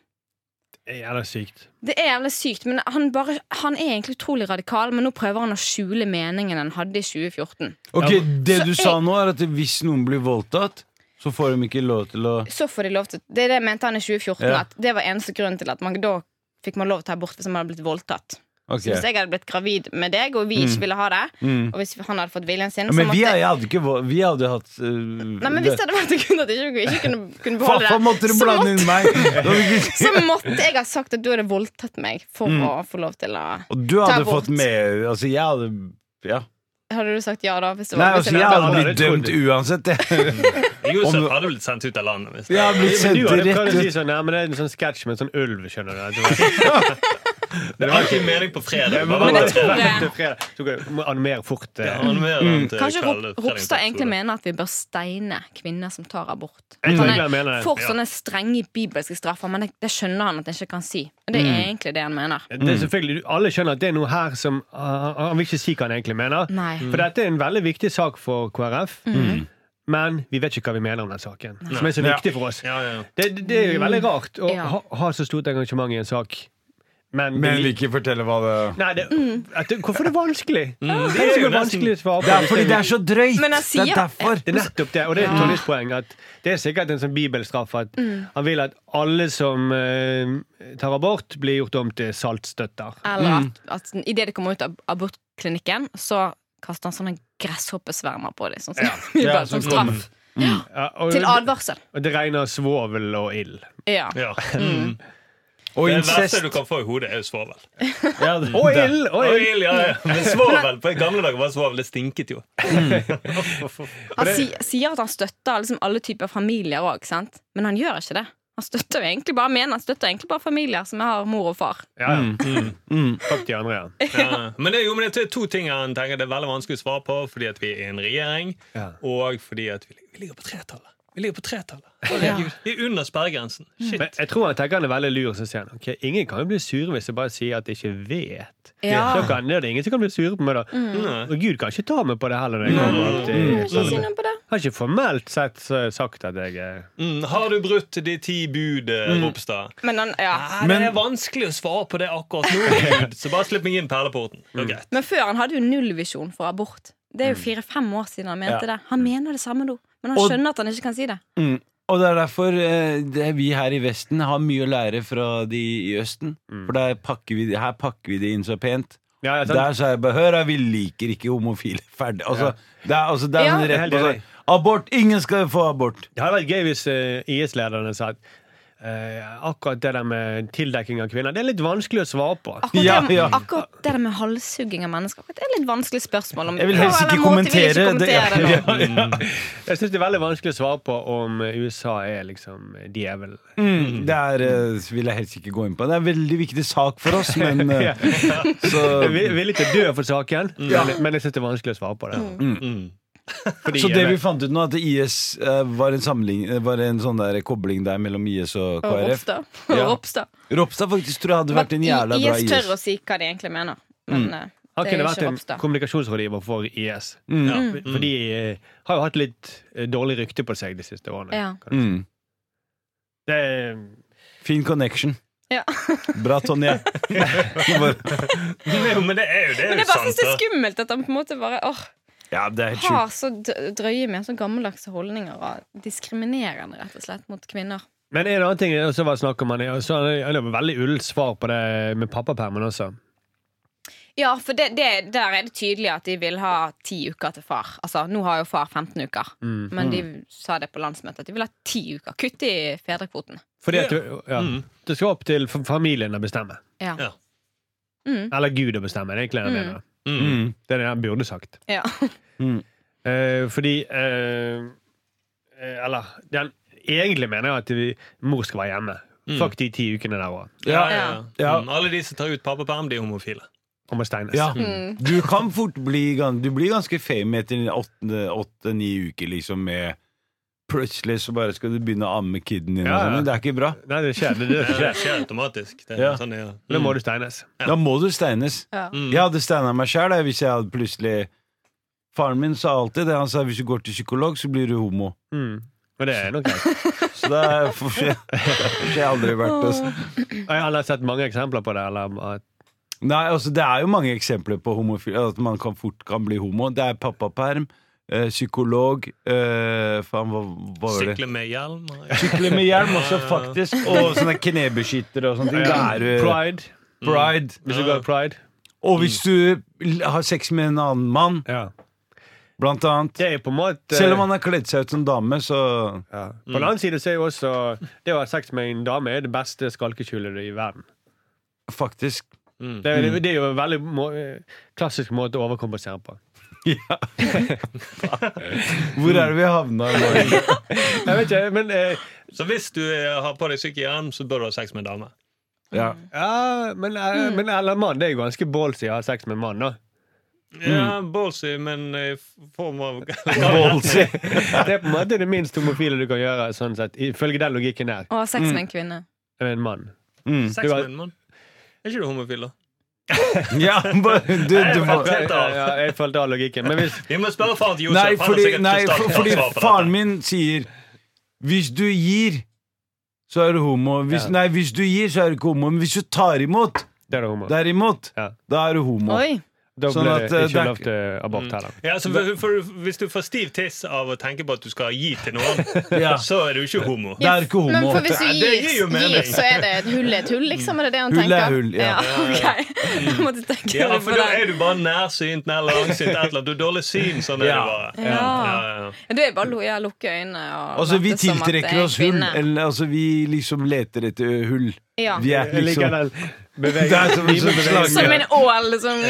D: Det er Jævla sykt.
B: Det er jævlig sykt, men han, bare, han er egentlig utrolig radikal, men nå prøver han å skjule meningen han hadde i 2014.
E: Ok,
D: Ja.
E: Det
B: Så
E: du
B: jeg-
E: sa nå, er at hvis noen blir voldtatt, så får de ikke lov til å
B: Så får de lov til Det er det mente han i 2014,
E: Ja.
B: at det var eneste grunnen til at man da fikk man lov til å ta abort hvis man hadde blitt voldtatt.
E: Ok.
B: Så hvis jeg hadde blitt gravid med deg, og vi ikke ville ha det,
E: Mm.
B: og hvis han hadde fått viljen sin,
E: Ja,
B: så
E: men vi,
B: måtte
E: er- jeg hadde ikke vo- vi hadde hatt uh,
B: Nei, men Hvis det hadde vært en grunn til at jeg ikke, ikke kunne, kunne
E: Faen,
B: beholde det,
E: faen, måtte du
B: så,
E: blande inn
B: måtte,
E: meg! Det var ikke-
B: så måtte jeg ha sagt at du hadde voldtatt meg for
E: Mm.
B: å få lov til å
E: Og du hadde
B: Ta abort.
E: fått med Altså, jeg hadde ja.
B: Hadde du sagt ja da? Hvis det
E: Nei,
B: var, hvis
E: altså,
B: jeg
E: jeg
B: hadde-
E: hadde blitt
D: Ja, det
E: dømt
D: trodde
E: uansett. Jeg,
C: Josef
E: Om-
C: hadde blitt sendt ut av landet. Hvis det.
E: jeg hadde blitt
D: Men du
E: sendt
D: hadde
E: rett
D: prøvd å si
E: ut.
D: sånn Nei, men det er en sånn sketsj med en sånn ulv, skjønner du. Det var-
C: det var alltid mening på fredag.
D: det
C: Bare
D: var
B: Men
D: bare-
B: jeg tror-
D: Vent til fredag. Så går jeg- må animere fort. eh.
C: Ja, han mer enn til
B: Kanskje
C: kvelden,
B: Rop- Ropstad egentlig
C: treningsepisode.
B: mener at vi bør steine kvinner som tar abort.
D: Jeg
B: At
D: tror
B: han
D: ikke han mener
B: er
D: det.
B: for
C: Ja.
B: sånne strenge bibelske straffer, men det, det skjønner han at han ikke kan si. Og det er egentlig det han mener.
D: Det er selvfølgelig, Alle skjønner at det er noe her som han- Han vil ikke si hva han egentlig mener.
B: Nei.
D: For dette er en veldig viktig sak for KrF.
B: Mm.
E: Mm.
D: Men vi vet ikke hva vi mener om den saken, som er så viktig for oss.
C: Ja, ja.
D: Det, det- det er jo veldig rart å
B: Mm. Ja.
D: ha, ha så stort engasjement i en sak, men,
E: Men
D: det-
E: vil ikke fortelle hva det
D: Nei, det,
B: Mm.
D: at, det- hvorfor er det
E: Mm.
D: vanskelig? Tenk
C: det er
D: så
C: jo
D: hvor vanskelig å svare på.
E: Det er fordi det er Mm. så drøyt!
B: Men jeg
E: Det
B: sier-
E: er derfor.
D: Det er nettopp det, og det er
B: Ja.
D: Tonjes poeng. At det er sikkert en sånn bibelstraff at
B: Mm.
D: han vil at alle som eh, tar abort, blir gjort om til saltstøtter.
B: Eller at, at idet de kommer ut av abortklinikken, så kaster han sånne gresshoppesvermer på dem. Sånn, som-
E: Ja,
B: bare som
E: sånn
B: straff.
D: Ja, og,
B: Til advarsel.
D: og det regner svovel og ild.
B: Ja.
C: Ja.
E: Og
C: Det
E: incest.
C: verste du kan få i hodet, er jo svovel.
E: Ja, det-
D: Og ild! Og ild.
C: Oil, ja, ja. Men svovel på gamle dager var svovel. Det stinket jo.
B: Han si, sier at han støtter liksom alle typer familier òg, men han gjør ikke det. Han støtter jo egentlig bare mener han støtter egentlig bare familier som har mor og far.
D: Ja, ja. Takk til de andre, ja.
C: Ja. Eh, Men det, er jo, men det er to ting han tenker det er veldig vanskelig å svare på, fordi at vi er en regjering,
D: Ja.
C: og fordi at vi, vi ligger på tretallet. Vi ligger på tretallet.
B: Ja.
C: Herregud, Vi er under sperregrensen. Shit.
D: Men jeg tror han tenker han er veldig lur, så sier han ok, ingen kan jo bli sure hvis jeg bare sier at jeg ikke vet.
B: Ja.
D: Så kan, det er det ingen som kan bli sure på meg, da.
C: Nei.
D: Og Gud kan ikke ta meg på det heller. Når jeg kommer opp til,
B: Ikke si noe på det.
D: Jeg Har ikke formelt sett eh, sagt at jeg er
C: Mm, har du brutt de ti bud, eh, Ropstad?
B: Men han, ja.
C: Nei, det er vanskelig å svare på det akkurat nå, Mm. Gud, så bare slipp meg inn perleporten. Det er greit.
B: Men før han hadde jo nullvisjon for abort. Det er jo fire-fem år siden han mente det. Han mener det samme nå, men han
E: Mm. Og-
B: skjønner at han ikke kan si det.
E: Mm. Og det er derfor eh, det vi her i Vesten har mye å lære fra de i Østen. For der pakker vi, her pakker vi det inn så pent.
D: Ja, ja, sant.
E: Der sa jeg bare Hør, da, vi liker ikke homofile. Ferdig. Altså, det er, altså, det er
B: Ja.
E: sånn
D: Jeg er
E: rett
D: helt
E: på
D: enig.
E: sånn Abort! Ingen skal få abort!
D: Det hadde vært gøy hvis eh, IS-lederne sa at eh, akkurat det der med tildekking av kvinner, det er litt vanskelig å svare på.
B: Akkurat,
E: Ja,
B: det,
E: ja.
B: akkurat det der med halshugging av mennesker akkurat det er et litt vanskelig spørsmål. Om,
E: Jeg vil helst
B: På
E: ikke
B: en måte vil jeg
E: kommentere
B: ikke
E: det.
B: kommentere det. nå.
D: Jeg syns det er veldig vanskelig å svare på om eh, USA er liksom djevelen.
E: Mm. Det er, eh, vil jeg helst ikke gå inn på. Det er en veldig viktig sak for oss, men eh, så,
D: Jeg vil- vil ikke dø for saken, men, men jeg syns det er vanskelig å svare på det. Mm.
B: Mm.
D: Fordi eh,
E: så det
D: jeg
E: vi
D: vet-
E: fant ut nå, at IS eh, var en, samling, eh, var en sånn der kobling der mellom IS og
B: Og
E: KrF.
B: Ropstad. Og
E: Ja.
B: Ropstad.
E: Ropstad faktisk tror jeg hadde vært en jævla
B: I-
E: bra
B: IS
E: IS.
B: tør å si hva de egentlig mener. Men eh,
D: han
B: det
D: kunne
B: er
D: vært
B: ikke
D: en
B: Ropstad.
D: kommunikasjonsrådgiver for IS.
E: Mm.
C: Ja.
D: For de eh, har jo hatt litt eh, dårlig rykte på seg de siste årene.
B: Ja.
D: kan du si.
E: Mm.
D: Det er
E: Fin connection.
B: Ja.
E: Bra, Tonje. Bare-
C: Jo, men det er jo det.
B: Men jeg
C: er jo
B: bare
C: sant.
B: synes det er
C: da.
B: skummelt at han på en måte bare åh,
E: Ja, det er helt sjukt.
B: har så d- drøye med så gammeldagse holdninger. Og diskriminerende, rett og slett, mot kvinner.
D: Men en annen ting det også var snakk om han, og så Altså, han han har veldig ullent svar på det med pappapermen også.
B: Ja, for det, det, der er det tydelig at de vil ha ti uker til far. Altså, Nå har jo far 15 uker,
E: Mm.
B: men de sa det på landsmøtet at de vil ha ti uker. Kutt i fedrekvoten.
D: Fordi at du, ja, Mm. det skal opp til fa- familien å bestemme.
B: Ja. Mm.
C: Ja.
D: Eller Gud å bestemme, det er egentlig det han mener.
C: Mm.
D: Det er det han burde sagt.
B: Ja.
D: Eh, fordi eh, eh, Eller den, egentlig mener jeg at vi, mor skal være hjemme.
E: Mm.
D: Fuck de ti ukene der òg.
C: Ja, ja, ja.
E: Ja.
C: Mm. Alle de som tar ut pappaperm, de er homofile.
D: Og må steines.
E: Ja. Du kan fort bli, gan- du blir ganske fame etter åtte-ni uker, liksom, med Plutselig så bare skal du begynne å amme kiden din. og
D: Ja, ja.
E: sånn, men Det er ikke bra.
D: Nei, det skjer. Det, er det som
C: Det
D: skjer.
C: skjer automatisk. Det er
E: Ja.
C: sånn, det er. Mm.
D: Da må du steines.
E: Da må du steines.
B: Ja.
E: Jeg hadde steina meg sjæl hvis jeg hadde plutselig Faren min sa alltid det. Han sa hvis du går til psykolog, så blir du homo.
D: Mm. Og det er nok greit.
E: Så det er for jeg, for jeg aldri vært altså.
D: Og Jeg har aldri sett mange eksempler på det. Eller at,
E: Nei, altså Det er jo mange eksempler på homofili at man kan fort kan bli homo. Det er pappaperm, eh, psykolog eh, Faen, hva, hva var
C: Mm.
E: det?
C: Sykle med hjelm. og-
E: Sykle med hjelm også,
C: Ja, ja, ja.
E: faktisk. Og sånne knebeskyttere og sånne ting. Det er jo eh,
D: pride.
E: pride.
D: Hvis du går i pride.
E: Og hvis du l- har sex med en annen mann,
D: Ja.
E: blant annet.
D: Det er på en måte
E: Selv om Mm. han har kledd seg ut som dame, så
D: ja. På den annen side så er jo også det å ha sex med en dame er det beste skalkeskjulet i verden.
E: faktisk
D: Det, er-
E: Mm.
D: det er jo en veldig må, eh, klassisk måte å overkompensere på.
E: Ja. Hvor er det vi havna i dag?
D: Jeg vet ikke, men eh,
C: Så hvis du eh, har på deg sykehjelm, så bør du ha sex med en dame.
E: Ja.
D: Ja, men, eh,
E: Mm.
D: men eller mann, det er jo ganske ballsy å ha sex med en mann, da.
C: Ja, ballsy, men i form av
E: Ballsy.
D: Det er på en måte det minst homofile du kan gjøre, sånn sett, ifølge den logikken der.
B: Og sex med en kvinne.
D: Med en mann.
E: Mm.
C: sex med en mann. Er ikke du homofil, da?
E: Ja, bare du, du må
D: Ja, ja, jeg følte av logikken. Men hvis
C: Vi må spørre faren til Josef.
E: Nei,
C: han har
E: fordi,
C: sikkert
E: nei, for,
C: krystallklart
E: fordi
C: svar på
E: faren
C: dette.
E: min sier Hvis du gir, så er du homo. Hvis, nei, hvis du gir, så er du ikke homo. Men hvis du tar imot,
D: Det er homo.
E: derimot,
D: Ja.
E: da er du homo.
B: Oi!
D: Da
E: Sånn
D: blir
E: at,
D: det
E: eh, det
D: ikke
E: er
D: lov til abort heller.
C: Ja, så for, for, hvis du får stiv tiss av å tenke på at du skal gi til noen,
E: Ja.
C: så er du ikke homo.
E: Det er ikke homo.
B: Men for hvis du
C: Det- det gir jo
B: gir,
C: mening.
B: gir, så er det et hull er et hull, liksom? Er det det han
E: Hull er
B: tenker?
E: hull, ja. Mm.
B: ok. Jeg måtte tenke
C: Ja,
B: litt
C: for
B: på
C: da
B: det.
C: er du bare nærsynt eller langsynt. Et eller annet. Du har dårlig syn. Sånn er
E: Ja.
C: det bare.
B: Ja.
C: Ja, ja.
B: Ja, Da er det bare å ja, lukke øynene og
E: Altså, vi
B: late som at det er
E: tiltrekker
B: en
E: oss hull.
B: kvinne.
E: Eller, altså, vi liksom leter etter hull.
B: Ja.
E: Vi er
D: Jeg liker
E: liksom
D: den
E: Det er som en
D: bevegelsen.
E: sånn
B: Som
E: slange.
B: en ål, liksom.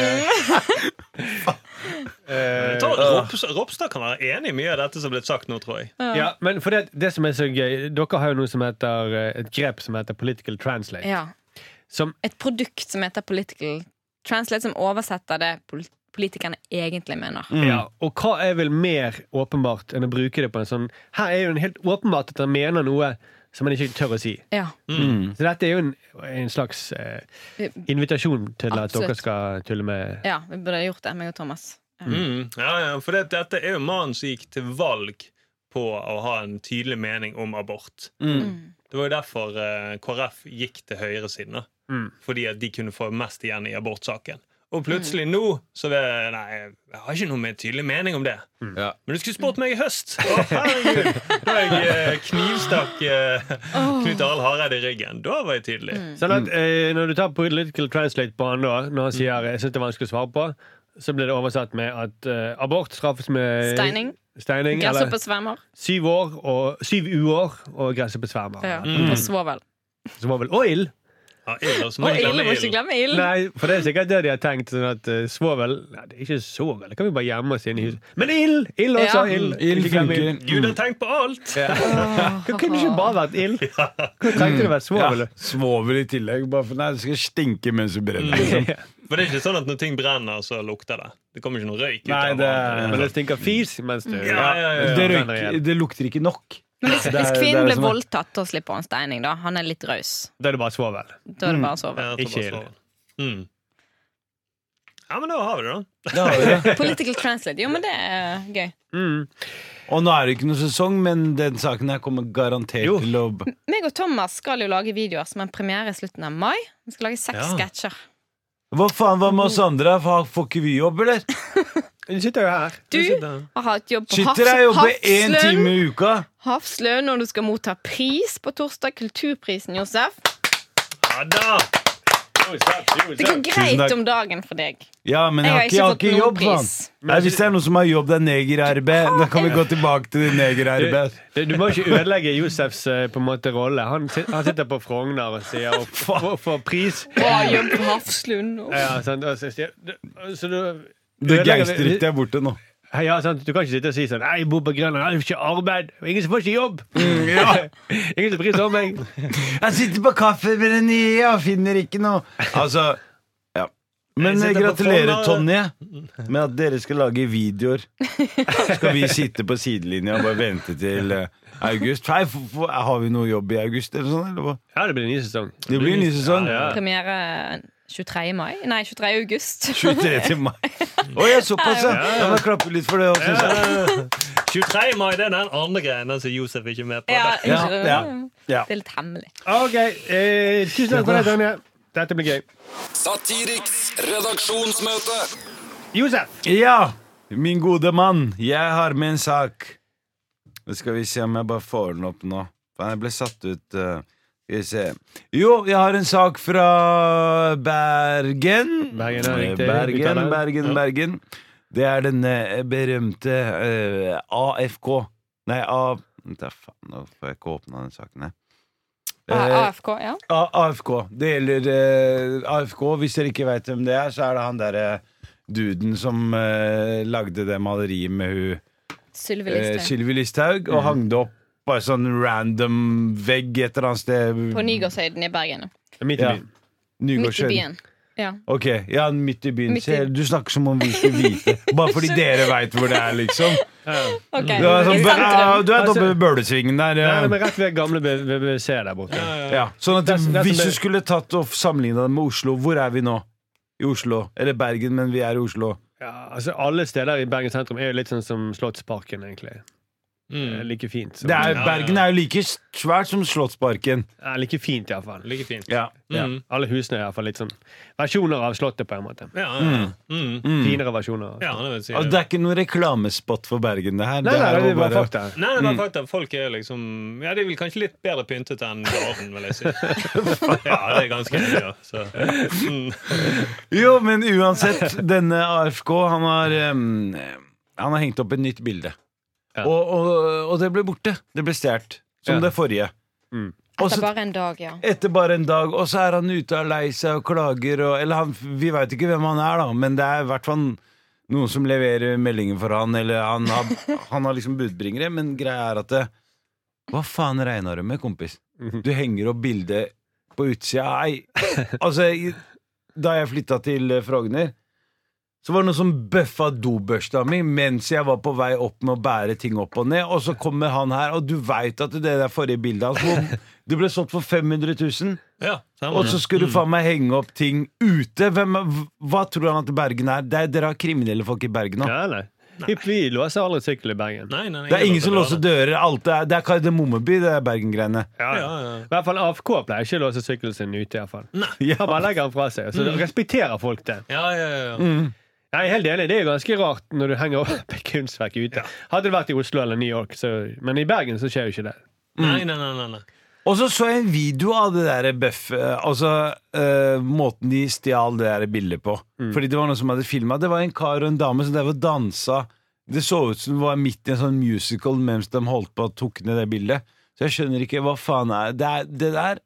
C: Jeg tror at Ropstad, Ropstad kan være enig i mye av dette som er blitt sagt nå, tror jeg.
D: Ja, men for det, det som er så gøy Dere har jo noe som heter eh, et grep som heter political translate.
B: Ja.
D: Som
B: et produkt som heter Political Translate, som oversetter det pol- politikerne egentlig mener.
E: Mm.
D: Ja, og hva er vel mer åpenbart enn å bruke det på en sånn Her er jo en helt åpenbart at han mener noe som han ikke tør å si.
B: Ja.
D: Så dette er jo en, en slags eh,
B: Vi,
D: invitasjon til at dere
B: Absolutt.
D: skal tulle med
B: ja, vi burde gjort det, meg og Thomas. Ja.
C: Mm. Ja, ja, for det, dette er jo mannen som gikk til valg på å ha en tydelig mening om abort.
E: Mm.
B: Mm.
C: Det var jo derfor eh, KrF gikk til høyresiden. da.
D: Mm.
C: Fordi at de kunne få mest igjen i abortsaken. Og plutselig nå så vil jeg Nei, jeg har ikke noe med tydelig mening om det.
E: Ja.
C: Men du skulle spurt meg i høst! Å, herregud! Da jeg eh, knivstakk eh, Knut Arild Hareide i ryggen. Da var jeg tydelig.
D: Sånn at eh, når du tar political translate på han da, når han
B: Mm.
D: sier jeg synes det er vanskelig å svare på, så blir det oversatt med at eh, abort straffes med
B: Steining.
D: steining
B: Gresset
D: eller
B: på svermer.
D: syv år og syv uår og gresset på svermer.
B: Ja. Og svovel.
D: Som var vel Og ild!
C: Ja, ild, og så må
B: Og
C: jeg
B: ild, må
C: glemme
B: ikke
C: ild.
B: glemme ild.
D: Nei, for det er sikkert det de har tenkt. Sånn at eh, svovel Nei, det er ikke svovel. Det kan vi bare gjemme oss inne i huset. Men ild! Ild også!
B: Ja.
D: Ild!
E: Ild
D: Ikke glem
E: funker.
D: ild.
C: Gud har tenkt på alt!
D: Hva kunne det ikke bare vært ild? Hva trengte det å være
E: Ja,
D: svovel?
E: svovel i tillegg. Bare for, nei, det skal stinke mens du brenner.
D: Mm.
E: Liksom.
C: For det er ikke sånn at når ting brenner, så lukter det. Det kommer ikke noe røyk ut
E: Nei,
C: av
E: det
C: det.
D: Men det stinker fis mens du
C: Ja, ja, ja, ja.
E: Det, røyker, det lukter ikke nok.
B: Men hvis,
E: er-
B: hvis
E: det er
B: kvinnen ble
E: som er-
B: voldtatt, da slipper han steining, da. Han er litt raus.
D: Da er det bare svovel.
B: Da er det bare å sove.
C: Ja, jeg tror
D: Ikke
C: bare
D: ild.
C: svaret. Mm. Hmm. Ja, men da har vi det, da.
E: Det har vi det.
B: Political translate. Jo, men det er gøy.
D: Mm.
E: Og nå er det ikke noen sesong, men den saken her kommer garantert
D: Jo.
E: til å
B: Meg og Thomas skal jo lage videoer som en premiere i slutten av mai. Vi skal lage seks
C: Ja.
B: sketsjer.
E: Hva faen, hva med oss andre? Fa- Får ikke vi jobb, eller?
D: Nå sitter jeg jo her.
B: Du
C: Så da-
B: har hatt jobb på
E: Sitter jeg og
B: Hafs-
E: jobber én time
B: Hafslund.
E: i uka?
B: Hafslund, og du skal motta pris på torsdag. Kulturprisen, Josef.
C: Ja da!
B: Det går greit
E: takk.
B: om dagen for deg.
E: Ja,
B: Jeg
E: men jeg
B: har
E: har ikke, jeg har
B: ikke
E: ikke
B: fått
E: jobb,
B: noen
E: faen.
B: pris.
E: Nei, hvis det er noen som har jobb, det er neger-RB. Da kan vi gå tilbake til det neger-RB.
D: Du, du må ikke ødelegge Josefs eh, på en måte rolle. Han, sit- han sitter på Frogner og sier opp for, for pris.
B: Å, jobb på Hafslund. og-
D: Ja, sant? Og så sier- du- så du-
E: Det
D: ødelegger-
E: gangsterryktet er borte nå.
D: Hei, Ja, sant? Du kan ikke sitte og si sånn «Nei, 'Jeg bor på Grønland, jeg har ikke arbeid.' og 'Ingen som får ikke jobb.' Ingen som bryr seg om meg.
E: Jeg sitter på Kaffebrenneriet og finner ikke noe. Altså, ja. Men
C: Jeg sitter på
E: gratulerer,
C: Fornavn.
E: Tonje, med at dere skal lage videoer. Skal vi sitte på sidelinja og bare vente til eh, august? Hei, f- f- har vi noe jobb i august, eller sånn? Eller hva?
D: Ja, det blir en ny sesong.
E: Det blir en ny sesong.
D: Ja, ja.
B: Premiere 23. mai. Nei, 23. august.
E: 23. til mai. Å ja, såpass, ja.
C: Ja, ja.
E: Jeg må klappe litt for det. også, synes jeg.
C: Eh, 23. mai det er den andre greien den som Josef er ikke er med på.
B: Ja,
E: Ja,
B: ikke det?
E: ja, ja.
B: Det er litt hemmelig.
D: OK. Eh, tusen takk for det, Tonje. Dette blir gøy.
F: Satiriks redaksjonsmøte.
D: Josef!
E: ja, min gode mann, jeg har med en sak. Nå skal vi se om jeg bare får den opp nå. Faen, jeg ble satt ut. eh. Skal vi se. Jo, jeg har en sak fra Bergen. Eh,
D: Bergen er riktig.
E: Bergen,
D: Uttaler.
E: Bergen,
D: Ja.
E: Bergen. Det er denne berømte eh, AFK Nei, A... Vent da, faen, nå får jeg ikke åpna den saken her. Eh,
B: Ah, AFK, ja.
E: A- AFK. Det gjelder eh, AFK. Hvis dere ikke veit hvem det er, så er det han derre duden som eh, lagde det maleriet med hun
B: Sylvi
E: uh,
B: Listhaug.
E: Sylvi Listhaug,
D: Mhm.
E: og hang det opp på en sånn random vegg et eller annet sted.
B: På Nygårdshøyden i Bergen.
D: Midt i
E: Ja.
D: byen.
B: Midt i
E: Nygårdshøyden.
B: byen. Ja.
E: Ok, ja, midt i byen.
B: Midt i-
E: Se, Du snakker som om vi skulle vite. Bare fordi dere veit hvor det er, liksom.
B: Ok,
E: Du er, sånn,
B: i
E: ja,
B: sentrum.
E: du er oppe ved Bølesvingen der.
D: Altså- Nei,
E: Ja.
D: men rett ved gamle BBC der borte.
E: Ja. Sånn at
D: Det er- det er
E: Hvis
D: som-
E: du skulle tatt og sammenligna det med Oslo, hvor er vi nå? I Oslo. Eller Bergen, men vi er i Oslo.
D: Ja, altså Alle steder i Bergen sentrum er jo litt sånn som Slottsparken, egentlig. Eh,
C: Mm.
D: Like fint. Som,
E: Det er,
C: Ja, ja.
E: Bergen er jo like svært som Slottsparken.
D: ja, like fint, iallfall.
C: Like fint.
E: Ja.
D: Ja.
C: Mm.
D: Alle husene er iallfall litt sånn versjoner av Slottet, på en måte.
C: Ja, ja, ja. Mm.
E: Mm.
D: Finere versjoner.
C: ja det vil si
E: Altså, det
C: det.
E: er ikke noen reklamespot for Bergen, det her.
D: Nei, nei,
E: er
D: det
E: jo
D: er bare fakta.
C: Nei, det
E: Hmm.
C: var faktisk at folk er liksom Ja, de er vel kanskje litt bedre pyntet enn Garden, vil jeg si. Ja, det er ganske enig, ja. Så. Mm.
E: Jo, men uansett, denne AFK, han har em, Han har hengt opp et nytt bilde.
D: Ja.
E: Og, og, og det ble borte. Det ble stjålet. Som
D: Ja.
E: det forrige.
D: Mm.
E: Og
B: Det er
E: så
B: bare en dag, ja.
E: etter bare en dag, og så er han ute og er lei seg og klager og Eller han, vi veit ikke hvem han er, da, men det er i hvert fall noen som leverer meldinger for han, eller han har, han har liksom budbringere, men greia er at det, Hva faen regna du med, kompis? Du henger opp bildet på utsida. Nei, altså i- Da jeg flytta til eh, Frogner, så var det noen som bøffa dobørsta mi mens jeg var på vei opp med å bære ting opp og ned, og så kommer han her, og du veit at det der forrige bildet hans hvor Det ble solgt for 500 000,
C: Ja, sammen.
E: og så skulle du faen meg henge opp ting ute. Hvem, hva tror han at Bergen er? Det er dere har kriminelle folk i Bergen nå.
D: Ja, nei. Vi, vi låser aldri sykkel i Bergen.
C: Nei, nei, nei,
E: Det er ingen som
C: låser
E: låser dører. Alt er, det er kardemommeby, det er Bergen-greiene.
D: Ja,
C: Ja,
D: ja.
C: ja.
D: I hvert fall AFK pleier ikke å låse sykkelen sin ute. i hvert fall
E: Ja.
D: Han bare legger den fra seg. Så
E: Mm.
D: respekterer folk det.
C: Ja, ja, ja.
D: Jeg er helt enig, Det er jo ganske rart når du henger opp et kunstverk ute. Hadde det vært i Oslo eller New York, så, men i Bergen så skjer jo ikke det.
C: Nei, nei, nei, nei, nei.
E: Og så så jeg en video av det der bøff... eh, Altså eh, måten de stjal det der bildet på. Fordi det var noen som hadde filma. Det var en kar og en dame som drev og dansa. Det så ut som det var midt i en sånn musical mens de holdt på og tok ned det bildet. Så jeg skjønner ikke hva faen er Det, er, det der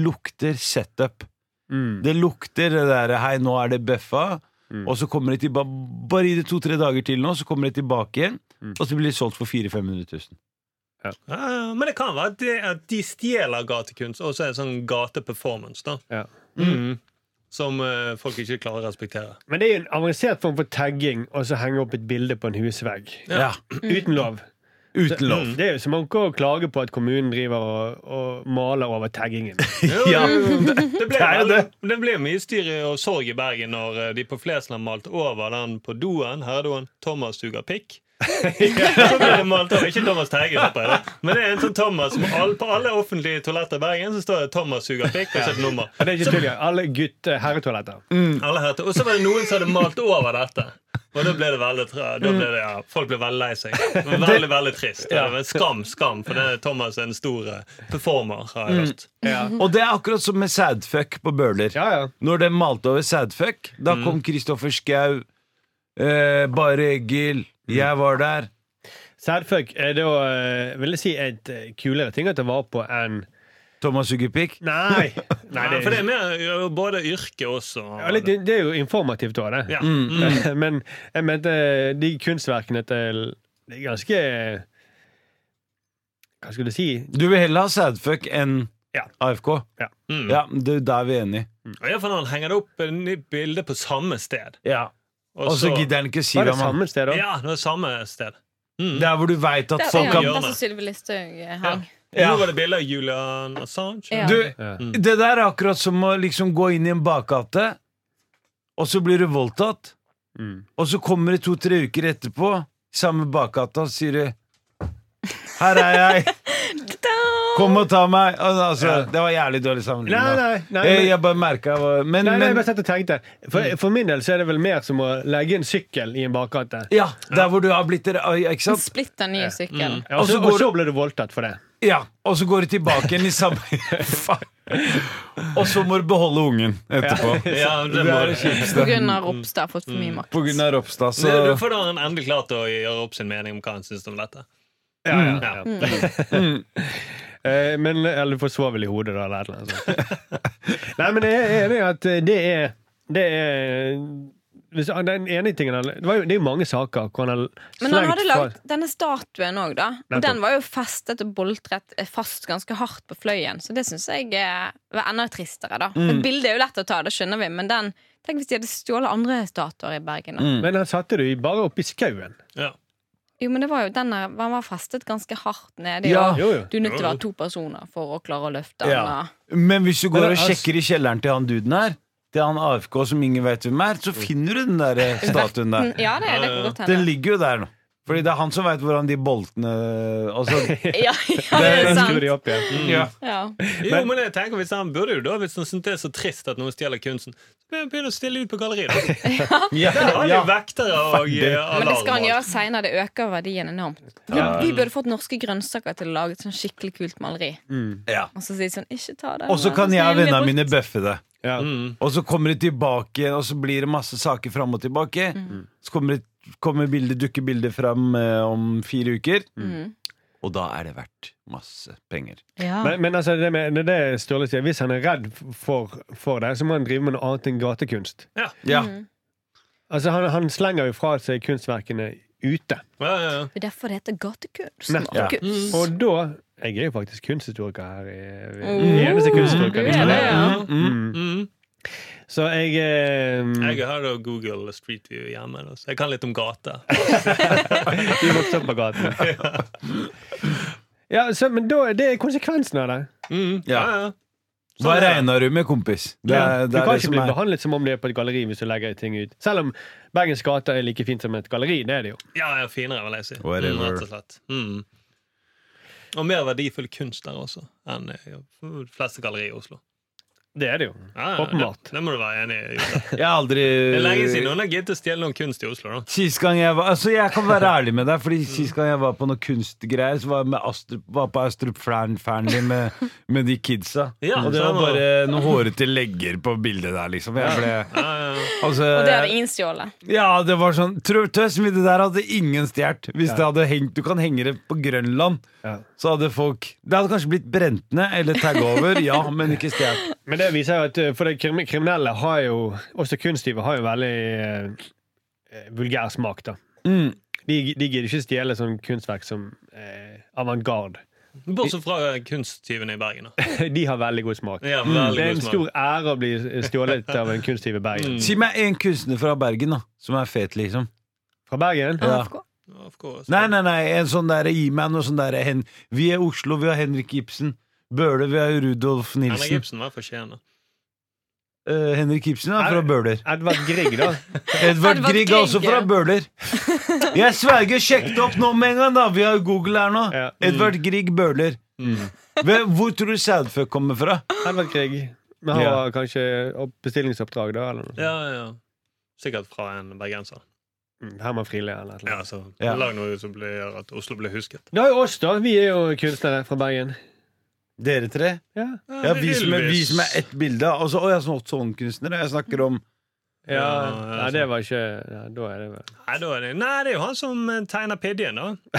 E: lukter setup.
D: Mm.
E: Det lukter det der Hei, nå er det bøffa. Og så kommer de tilbake Bare gi det to-tre dager til nå, så kommer de tilbake igjen. Og så blir de solgt for 400 500 000.
C: Ja, men det kan være at de, at de stjeler gatekunst, og så er det sånn gateperformance, da.
D: Ja.
C: Mm. Som eh, folk ikke klarer å respektere.
D: Men det er jo
E: Mm.
D: en avansert form for tagging å så henge opp et bilde på en husvegg
E: Ja.
D: uten lov. Mm.
E: Uten lov.
D: Det er jo som å klage på at kommunen driver og, og maler over taggingen.
C: Jo,
E: Ja.
C: jo, jo. Det ble,
E: Det er jo
C: det.
E: det.
C: ble mye styr og sorg i Bergen når eh, de på Flesland malte over den på doen, herredoen, Thomas suger pikk. så ble det malt over, Ikke Thomas Terje, håper jeg. da. Men det er en sånn Thomas som all, på alle offentlige toaletter i Bergen så står det 'Thomas suger pikk' og så et nummer.
D: Og det er ikke tull, ja. Alle gutte herretoaletter.
C: Alle hørte. Og så var det noen som hadde malt over dette. Og da ble det veldig tra- da ble det, ja, Folk ble veldig lei seg. Det var Veldig, veldig trist. Det var en skam, skam, for det er Thomas er en stor eh, performer, har jeg hørt.
E: Og det er akkurat som med sadfuck på Bøhler.
D: Ja, ja.
E: Når de malte over sadfuck, da kom Kristoffer Schau, eh, Bare Egil, jeg var der.
D: Sædfuck er da, eh, vil jeg si, et eh, kulere ting å ta vare på enn
E: Thomas Ugepik.
D: Nei! Nei
C: Ja,
D: det,
C: for det er
D: er,
C: mer ja, både yrke også. og-
D: ja, litt- det er jo informativt òg, det.
C: Ja.
E: Mm.
D: Men jeg mente eh, de kunstverkene til Det er ganske Hva skulle du si?
E: Du vil heller ha sadfuck enn
D: Ja.
E: AFK?
D: Ja.
C: Mm.
E: Ja, det, der er vi enige.
C: Og i hvert fall når han henger det opp en nytt bilde på samme sted.
E: Ja.
C: Og
E: Og så
C: så-
E: gidder han ikke si
D: Var
E: hva
D: det
E: man
D: samme sted, da?
C: Ja, det var samme sted. Mm.
E: Der hvor du veit at
B: Der,
E: folk
B: ja,
E: kan
B: der som Sylvi Listhaug eh, hang.
E: Ja.
C: Nå var det bilde av Julian Assange.
B: Ja.
E: Du,
D: Ja. Mm.
E: det der er akkurat som å liksom gå inn i en bakgate, og så blir du voldtatt,
D: Mm.
E: og så kommer det to-tre uker etterpå, i samme bakgata, og sier du her er jeg! Kom og ta meg! Al- Altså,
D: Ja.
E: Det var jævlig dårlig
D: Nei,
E: sammenligning. da.
D: nei, nei,
E: Eh,
D: men-
E: Jeg bare merka Men,
D: Nei, nei, jeg
E: men Mm.
D: bare satt og tenkte. For, for min del så er det vel mer som å legge en sykkel i en bakgate.
E: ja, der hvor du har blitt der, oi, Ikke
B: En
E: sant?
B: splitter ny sykkel.
D: Ja, og,
E: Og så
D: så,
E: går
D: og så ble du voldtatt for det.
E: Ja, Og så går du tilbake igjen i samme Faen. Og så må du beholde ungen etterpå.
C: Ja, det
E: Det
C: må
E: er det
C: det.
B: På grunn av Ropstad har fått for mye makt.
E: Mm. På grunn av Ropstad, så
C: Nei, for da har han endelig klart å gjøre opp sin mening om hva han syns om dette.
D: Ja, ja,
E: Mm.
D: ja.
C: Ja.
B: Mm.
D: Eh, Men, eller du får svovel i hodet, da, eller et eller annet. sånt. Nei, men jeg er enig i at det er, det er hvis, den ene tingen han, det, var jo, det er jo mange saker hvor han har
B: Men han
D: slengt
B: hadde
D: fra-
B: lagd denne statuen òg, da. Og
D: Nettopp.
B: den var jo festet og boltret eh, fast ganske hardt på fløyen, så det syns jeg eh, var enda tristere, da. Et bilde er jo lett å ta, det skjønner vi, men den Tenk hvis de hadde stjålet andre statuer i Bergen. da.
D: Men han satte det jo bare oppi skauen.
C: Ja.
B: Jo, men det var jo den der, Han var festet ganske hardt nede.
E: Ja.
B: og
D: Jo, jo.
B: Du er nødt til å være to personer for å klare å løfte den.
E: Ja.
B: og-
E: Men hvis du går
D: Men
E: og
D: det er-
E: sjekker i kjelleren til han duden her, til han AFK som ingen vet hvem er, så finner du den der eh, statuen der.
B: Mm, Ja, det, det kan godt
E: Den
B: hende.
E: ligger jo der nå. Fordi det er han som veit hvordan de boltene altså,
B: Ja, ja, det er
D: Den skrur
B: sant.
D: de opp igjen.
E: ja.
B: Ja.
C: Jo, men jeg tenker hvis han burde jo da Hvis han syntes det er så trist at noen stjeler kunsten, så bør han begynne å stille ut på galleriet.
E: Ja,
C: Der har de
E: ja.
C: vektere og
B: Men det
C: eh,
B: skal han
C: alarmer.
B: gjøre seinere. Det øker verdien enormt. Vi, vi burde fått norske grønnsaker til å lage et sånn skikkelig kult maleri.
E: Mm. Ja.
B: Og så sier de sånn Ikke ta det.
E: Og så kan jeg og vennene mine bøffe det.
D: Ja.
E: Og så kommer det tilbake, og så blir det masse saker fram og tilbake. Så kommer, det, kommer bildet, dukker bildet fram eh, om fire uker.
B: Mm.
E: Og da er det verdt masse penger.
B: Ja.
D: Men, men altså, det med, det er det Sturle sier, hvis han er redd for, for det, så må han drive med noe annet enn gatekunst.
E: Ja.
D: Altså, han, han slenger jo fra seg kunstverkene ute.
C: Ja, ja, ja.
B: Det er derfor det heter gatekunst.
D: Nettopp.
B: Markus.
D: Og da Jeg er jo faktisk kunsthistoriker her. i- i-
B: Oh,
D: Eneste
B: du
D: kunsthistoriker. i
B: er det,
D: Norge.
B: ja.
D: Mm.
C: Mm.
D: Så jeg eh,
C: Jeg har da Google Street View hjemme, da, så jeg kan litt om gater.
D: Du vokste opp på gaten. Ja, så, men da, det er konsekvensen av det.
C: Mm.
E: Ja.
C: Ja, ja.
E: Hva regner du med, kompis? Det er,
D: du
E: det er
D: kan
E: det
D: ikke
E: som
D: bli
E: er
D: behandlet som om det er på et galleri hvis du legger ting ut. Selv om Bergens gater er like fint som et galleri. Det er det jo.
C: Ja, ja, finere, vil jeg si. Mm,
E: Whatever.
C: rett og slett. Mm. Og mer verdifull kunst der også enn eh, de fleste gallerier i Oslo.
D: Det er det jo.
C: Ja, ja,
D: Åpenbart.
C: Det, det må du være enig i. Jostein.
E: Jeg har aldri
C: Det er lenge siden noen har giddet å stjele noen kunst i Oslo. da
E: Sist gang jeg var Altså jeg kan være ærlig med deg Fordi sist gang jeg var på noen kunstgreier Så var jeg med Astrup, var på Astrup Fern- Fearnley med, med de kidsa
C: Ja,
E: Og det var
C: sånn var
E: bare noen hårete legger på bildet der liksom Jeg ble
C: Ja, ja.
E: altså,
B: Og det hadde ingen stjålet.
E: Ja det var sånn Tror tøs men det der hadde ingen stjert Hvis det hadde hengt Du kan henge det på Grønland
D: Ja.
E: Så hadde folk Det hadde kanskje blitt brent ned Eller tagget over Ja men ikke stjert
D: Men det viser jo at eh, for det krim- kriminelle har jo Også kunstgivere har jo veldig eh, vulgær smak, da.
E: Mm.
D: De, de gidder ikke stjele sånn kunstverk som eh, avantgarde.
C: Bortsett fra kunsttyvene i Bergen. Da.
D: De har veldig god smak. Mm.
C: Ja,
D: Det
C: veldig
D: er
C: god
D: en
C: smak. Mm.
D: stor ære å bli stjålet av en
E: Mm.
D: kunstgiver i Bergen.
E: Si meg en kunstner fra Bergen da Som er fet liksom
D: Fra Bergen?
E: Ja.
B: AFK.
C: Of course.
E: Nei, nei, nei, en sånn der gi meg noe sånn der Hen Vi er Oslo, vi har Henrik Ibsen. Bøhler, vi har Rudolf
C: Henrik
E: Nilsen.
C: Ibsen var for Skien. da.
E: Eh, Henrik Ibsen er fra
D: Er-
E: Bøhler.
D: Edvard Grieg, da.
E: Edvard
B: Edvard
E: Grieg er også
B: Grieg,
E: fra
B: ja.
E: Bøhler. Jeg sverger, sjekk det opp nå med en gang, da! Vi har jo Google her nå.
D: Ja.
E: Edvard Grieg Bøhler. Hvem- Hvor tror du Sadfuck kommer fra?
D: Edvard Grieg. Men han
E: Ja.
D: var kanskje opp- bestillingsoppdrag, da? Eller noe.
C: Ja, ja. Sikkert fra en bergenser.
D: Mm, Herman Friele eller noe.
C: Ja, så
E: Ja.
C: Lag noe som blir, gjør at Oslo blir husket.
D: Det er jo oss, da. Vi er jo kunstnere fra Bergen.
E: Dere tre?
D: Ja.
E: Ja, vi som er, vi som er ett bilde. Altså, å, jeg er sånn sånn-kunstner. Jeg snakker om
D: Ja,
C: Ja, ja, sånn.
D: Nei, det var ikke ja, Da er det vel
C: Nei, da er det, nei, det er jo han som eh, tegner Pidjen, da.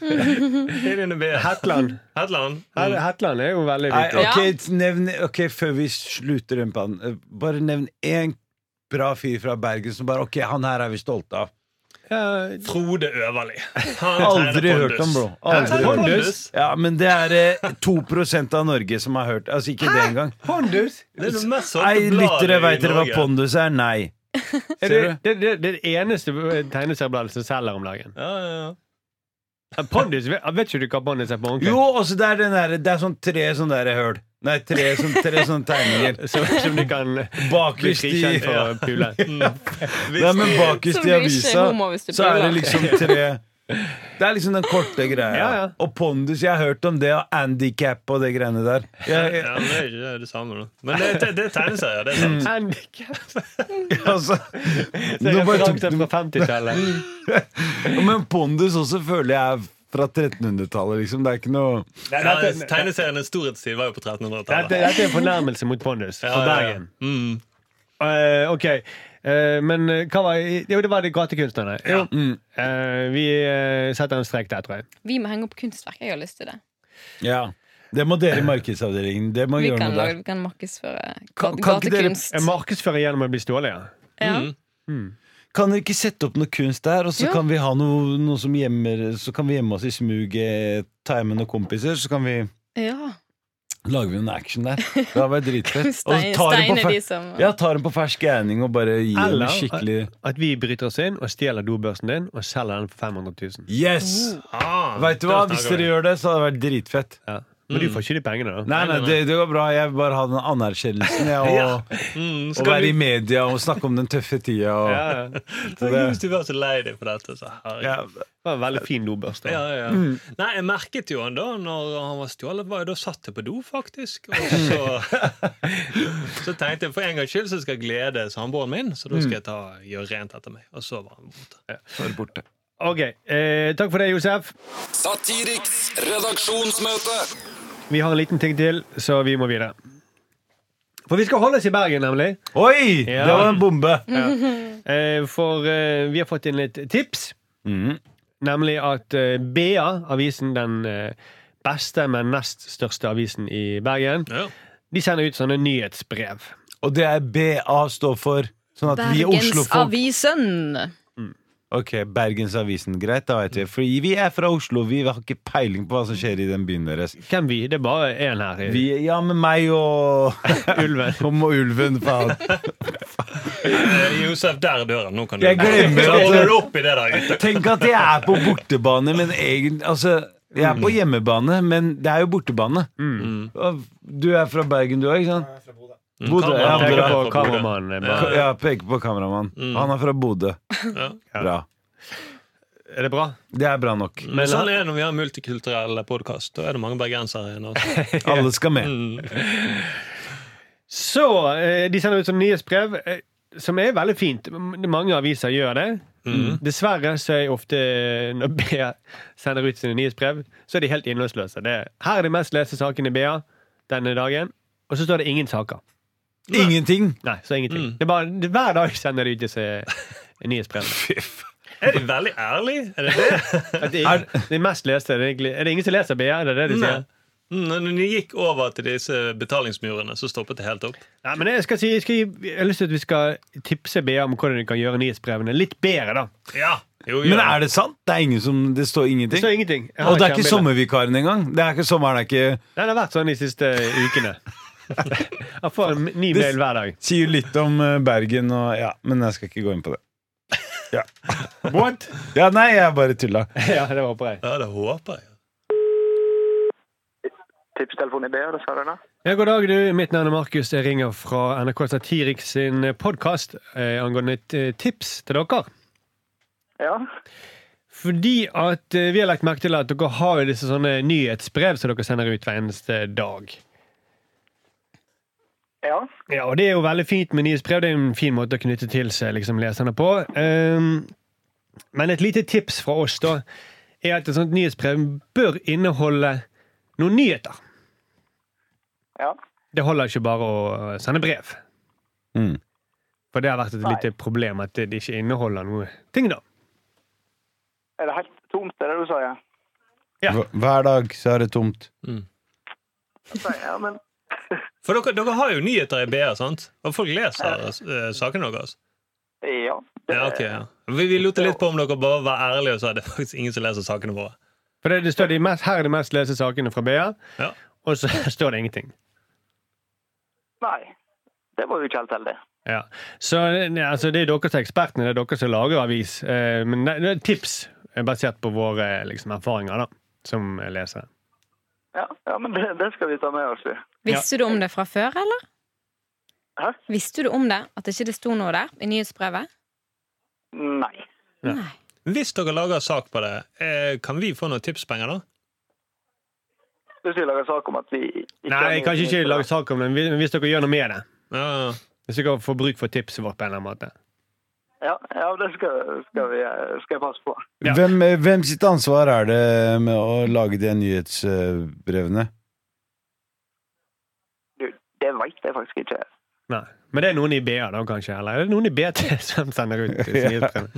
C: Pidjen er bedre.
D: Hetland.
C: Hetland.
D: Her- Hetland er jo veldig
E: Nei,
D: viktig.
B: Ja.
E: ok, nevn, ok, før vi slutter den planen, eh, bare nevn én bra fyr fra Bergen som bare Ok, han her er vi stolte
D: Ja,
E: av.
C: Mm. Frode Øverli. Han
E: Aldri
C: tegner
E: hørt
C: Pondus.
E: om, bro.
C: Han
E: Aldri
C: tegner
E: hørt om.
C: Pondus.
E: Ja, men det er eh, 2 av Norge som har hørt Altså, ikke det engang.
D: Pondus!
C: Det er det mest solgte
E: Nei, lyttere,
C: bladet i
E: veit dere hva
C: Norge.
E: pondus er? Nei.
D: Er
E: Ser
D: det,
E: du?
D: det, det, det er det eneste tegneseriebladet som selger om dagen.
C: Ja, ja, ja.
D: Pondus, vet, vet ikke du hva Pondus er på ordentlig?
E: Jo, også det er den derre Det er sånn tre sånne der høl. Nei, tre, sånn, tre sånne tegninger.
D: Som, som du kan bli
E: Bakerst i
D: frikjent for å pule.
E: Nei, men
B: Som
E: bakerst
B: du
E: i
B: ikke
E: avisa
B: er homo hvis du
E: Så er det
B: puler.
E: liksom tre Det er liksom den korte greia
D: Ja, ja.
E: Og pondus, jeg har hørt om det Og handicap og det greiene der jeg,
C: Ja, men det er ikke det samme, da. Men det, det, det er tegneserier, det er
E: Mm.
C: sant.
D: Handicap.
E: jeg, altså,
D: Det
E: nå
D: er
E: bare tok
D: referanse
E: du-
D: fra 50-tallet.
E: Men pondus også føler jeg er fra 1300-tallet liksom. Det er ikke noe
C: Ja, Tegneserienes storhetstid var jo på
D: Dette,
C: 1300-tallet.
D: dette er en fornærmelse mot Pondus
C: Ja,
D: fra
C: ja, ja.
D: Bergen.
C: Mm.
D: Eh, ok, Eh, men eh, hva var Jo, det var de gatekunstnerne.
C: Ja.
D: Jo.
E: Mm.
D: Eh, vi eh, setter en strek der, tror jeg.
B: Vi må henge opp kunstverk. Jeg har lyst til det.
E: Det må dere i markedsavdelingen Det må
B: Vi
E: gjøre
B: kan,
E: noe
B: lage,
E: der
B: vi kan markedsføre
E: Kan-
B: gate-
E: kan ikke dere-
B: gatekunst.
D: Jeg markedsfører gjennom å bli stålige.
B: Ja.
C: Mm.
E: Kan dere ikke sette opp noe kunst der Og så
B: Jo.
E: kan vi ha noe, noe som gjemmer Så kan vi gjemme oss i smuget Ta med noen kompiser Så kan vi
B: ja.
E: Lager vi en action der Det hadde vært dritfett Og så
B: Stein,
E: tar vi på
B: steine
E: fer-
B: de som
E: Ja, tar den på fersk gærning og bare gir den
D: Eller-
E: en skikkelig
D: At vi bryter oss inn og stjeler dobørsen din og selger den for 500 000.
E: Yes!
C: Ah,
E: Vet du hva,
C: da
E: Hvis
C: snakker
E: dere
C: vi.
E: gjør det, så hadde det vært dritfett.
D: Ja. Men
E: Mm.
D: du får ikke de pengene, da.
E: Nei, nei, det, det går bra. Jeg vil bare ha den anerkjennelsen. Jeg, og,
C: Mm,
E: og
C: skal
E: være
C: vi-
E: i media og snakke om den tøffe tida. Og,
D: Ja, ja. det
E: så
C: Tenk hvis du
E: det,
C: var så lei deg for dette. Så herregud.
E: ja. Mm.
D: var en veldig fin dobørste.
C: Ja, ja, ja. Nei, jeg merket jo han da Når han var stjålet, var jeg da satt jeg på do, faktisk. Og så, så tenkte jeg for en gangs skyld så skal jeg glede samboeren min, så da skal jeg ta, gjøre rent etter meg. Og så var han borte.
E: Så er det borte.
D: Ok, eh, Takk for det, Josef.
F: Satiriks redaksjonsmøte.
D: Vi har en liten ting til, så vi må videre. For vi skal holde oss i Bergen, nemlig.
E: Oi!
D: Ja.
E: Det var en bombe!
D: Eh, for eh, vi har fått inn litt tips.
E: Mhm.
D: Nemlig at eh, BA, avisen den eh, beste, men nest største avisen i Bergen,
C: Ja.
D: de sender ut sånne nyhetsbrev.
E: Og det er BA står for. Sånn at vi Oslo-folk
B: Bergensavisen!
E: Ok, Bergensavisen. Greit, da vet vi. Fordi vi er fra Oslo. Vi har ikke peiling på hva som skjer i den byen deres.
D: Hvem vi? Det er bare én her. i-
E: Vi, ja, med meg og
D: Ulven.
E: Og må ulven, faen.
C: Eh, Josef, der dør han. Nå kan du
E: Jeg glemmer
C: Så
E: at-
C: holder du opp i det der, gutter.
E: Tenk at jeg er på bortebane, men egentlig Altså, jeg er på
C: Mm.
E: hjemmebane, men det er jo bortebane. Og Du er fra Bergen, du òg, ikke sant? Bodø.
C: Mm. Kameramann.
E: Ja,
D: Peker
E: bra.
D: på
C: Bodø.
D: kameramannen. eh,
E: Ka-
D: bare.
E: Ja, peker på kameramannen. Han er fra Bodø.
C: Ja.
E: Bra.
D: Er det bra?
E: Det er bra nok.
C: Men sånn er det når vi har en multikulturell podkast. Da er det mange bergensere igjen. altså.
E: Alle skal med.
C: Mm.
D: Så eh, de sender ut sånn nyhetsbrev, eh, som er veldig fint. M- Mange aviser gjør det. Dessverre så er ofte eh, når BA sender ut sine nyhetsbrev, så er de helt innholdsløse. Det er, her er de mest leste sakene i BA denne dagen, og så står det ingen saker.
E: Ingenting.
D: Nei, så ingenting. Det er bare, det, hver dag sender de ut disse eh, nyhetsbrevene.
C: Er de veldig ærlige? Er det det?
D: At det, er, de mest leste, det er, egentlig, er det ingen som leser BA? Det er det de
C: Nei.
D: sier.
C: Mm, Når de gikk over til disse betalingsmurene, så stoppet det helt opp.
D: Nei, men jeg, skal si, jeg, skal, gi- jeg har lyst til at vi skal tipse BA om hvordan de kan gjøre nyhetsbrevene litt bedre, da.
C: Ja, jo,
E: Men er det sant? Det er ingen som Det står
D: Det
E: ingenting?
D: står ingenting. Jeg har
E: Og det er ikke
D: skjermbilde.
E: sommervikaren engang? Det er ikke sommeren, det er ikke
D: Nei, det har vært sånn de siste ukene. Han får en ny mail hver dag.
E: Sier litt om eh, Bergen og Ja, men jeg skal ikke gå inn på det.
D: What?
E: Ja, nei, jeg bare tulla.
D: Ja, det håper jeg.
C: Ja, det håper jeg.
A: Tipstelefonen i B, dessverre. da.
D: Ja, god dag, du. Mitt navn er Markus. Jeg ringer fra NRK Satirik sin podkast eh, angående et eh, tips til dere.
A: Ja.
D: Fordi at eh, vi har lagt merke til at dere har jo disse sånne nyhetsbrev som dere sender ut hver eneste dag.
A: ja.
D: Ja, og det er jo veldig fint med nyhetsbrev. Det er jo en fin måte å knytte til seg liksom, leserne på. Ehm, men et lite tips fra oss da, er at et sånt nyhetsbrev bør inneholde noen nyheter.
A: Ja.
D: Det holder ikke bare å eh, sende brev.
E: Mm.
D: For det har vært et lite problem at det ikke inneholder noe ting, da.
A: Er det helt tomt, er det du sier?
D: Ja.
E: Hver- Hver dag så er det tomt.
A: Sier, Ja, men
C: For dere, dere har jo nyheter i BA, sant? Og folk leser eh, sakene deres.
A: ja. Det,
C: Ja, ok, ja. Vi, vi lurte litt på om dere bare var ærlige og sa det er faktisk ingen som leser sakene våre.
D: For det, det står de mest, her er de mest leste sakene fra BA,
C: Ja.
D: og så står det ingenting.
A: Nei. Det var jo ikke helt heldig.
D: Ja. Så ne, altså, det er dere som er ekspertene, det er dere som lager avis. Eh, men ne- det er tips eh, basert på våre liksom, erfaringer da, som lesere.
A: Ja, ja men det, det skal vi ta med oss, vi.
B: Visste du om det fra før, eller?
A: Hæ?
B: Visste du om det? At ikke det sto noe der i nyhetsbrevet?
A: Nei.
D: Ja.
B: Nei.
C: Hvis dere lager sak på det, eh, kan vi få noen tipspenger da?
A: Du skal lage sak om at vi ikke
D: Nei, jeg kan ikke ikke lage sak om det, men hvis- men hvis dere gjør noe med det.
C: Ja, ja, ja.
D: Hvis dere får bruk for tipset vårt på en eller annen måte.
A: Ja, ja det skal, skal, vi, eh, skal jeg passe på.
D: Ja.
E: Hvem, eh, hvem sitt ansvar er det med å lage de nyhetsbrevene?
A: Du, det veit jeg faktisk ikke.
D: Nei. Men det er noen i BA da, kanskje? Eller er det noen i BT som sender ut nyhetsbrev?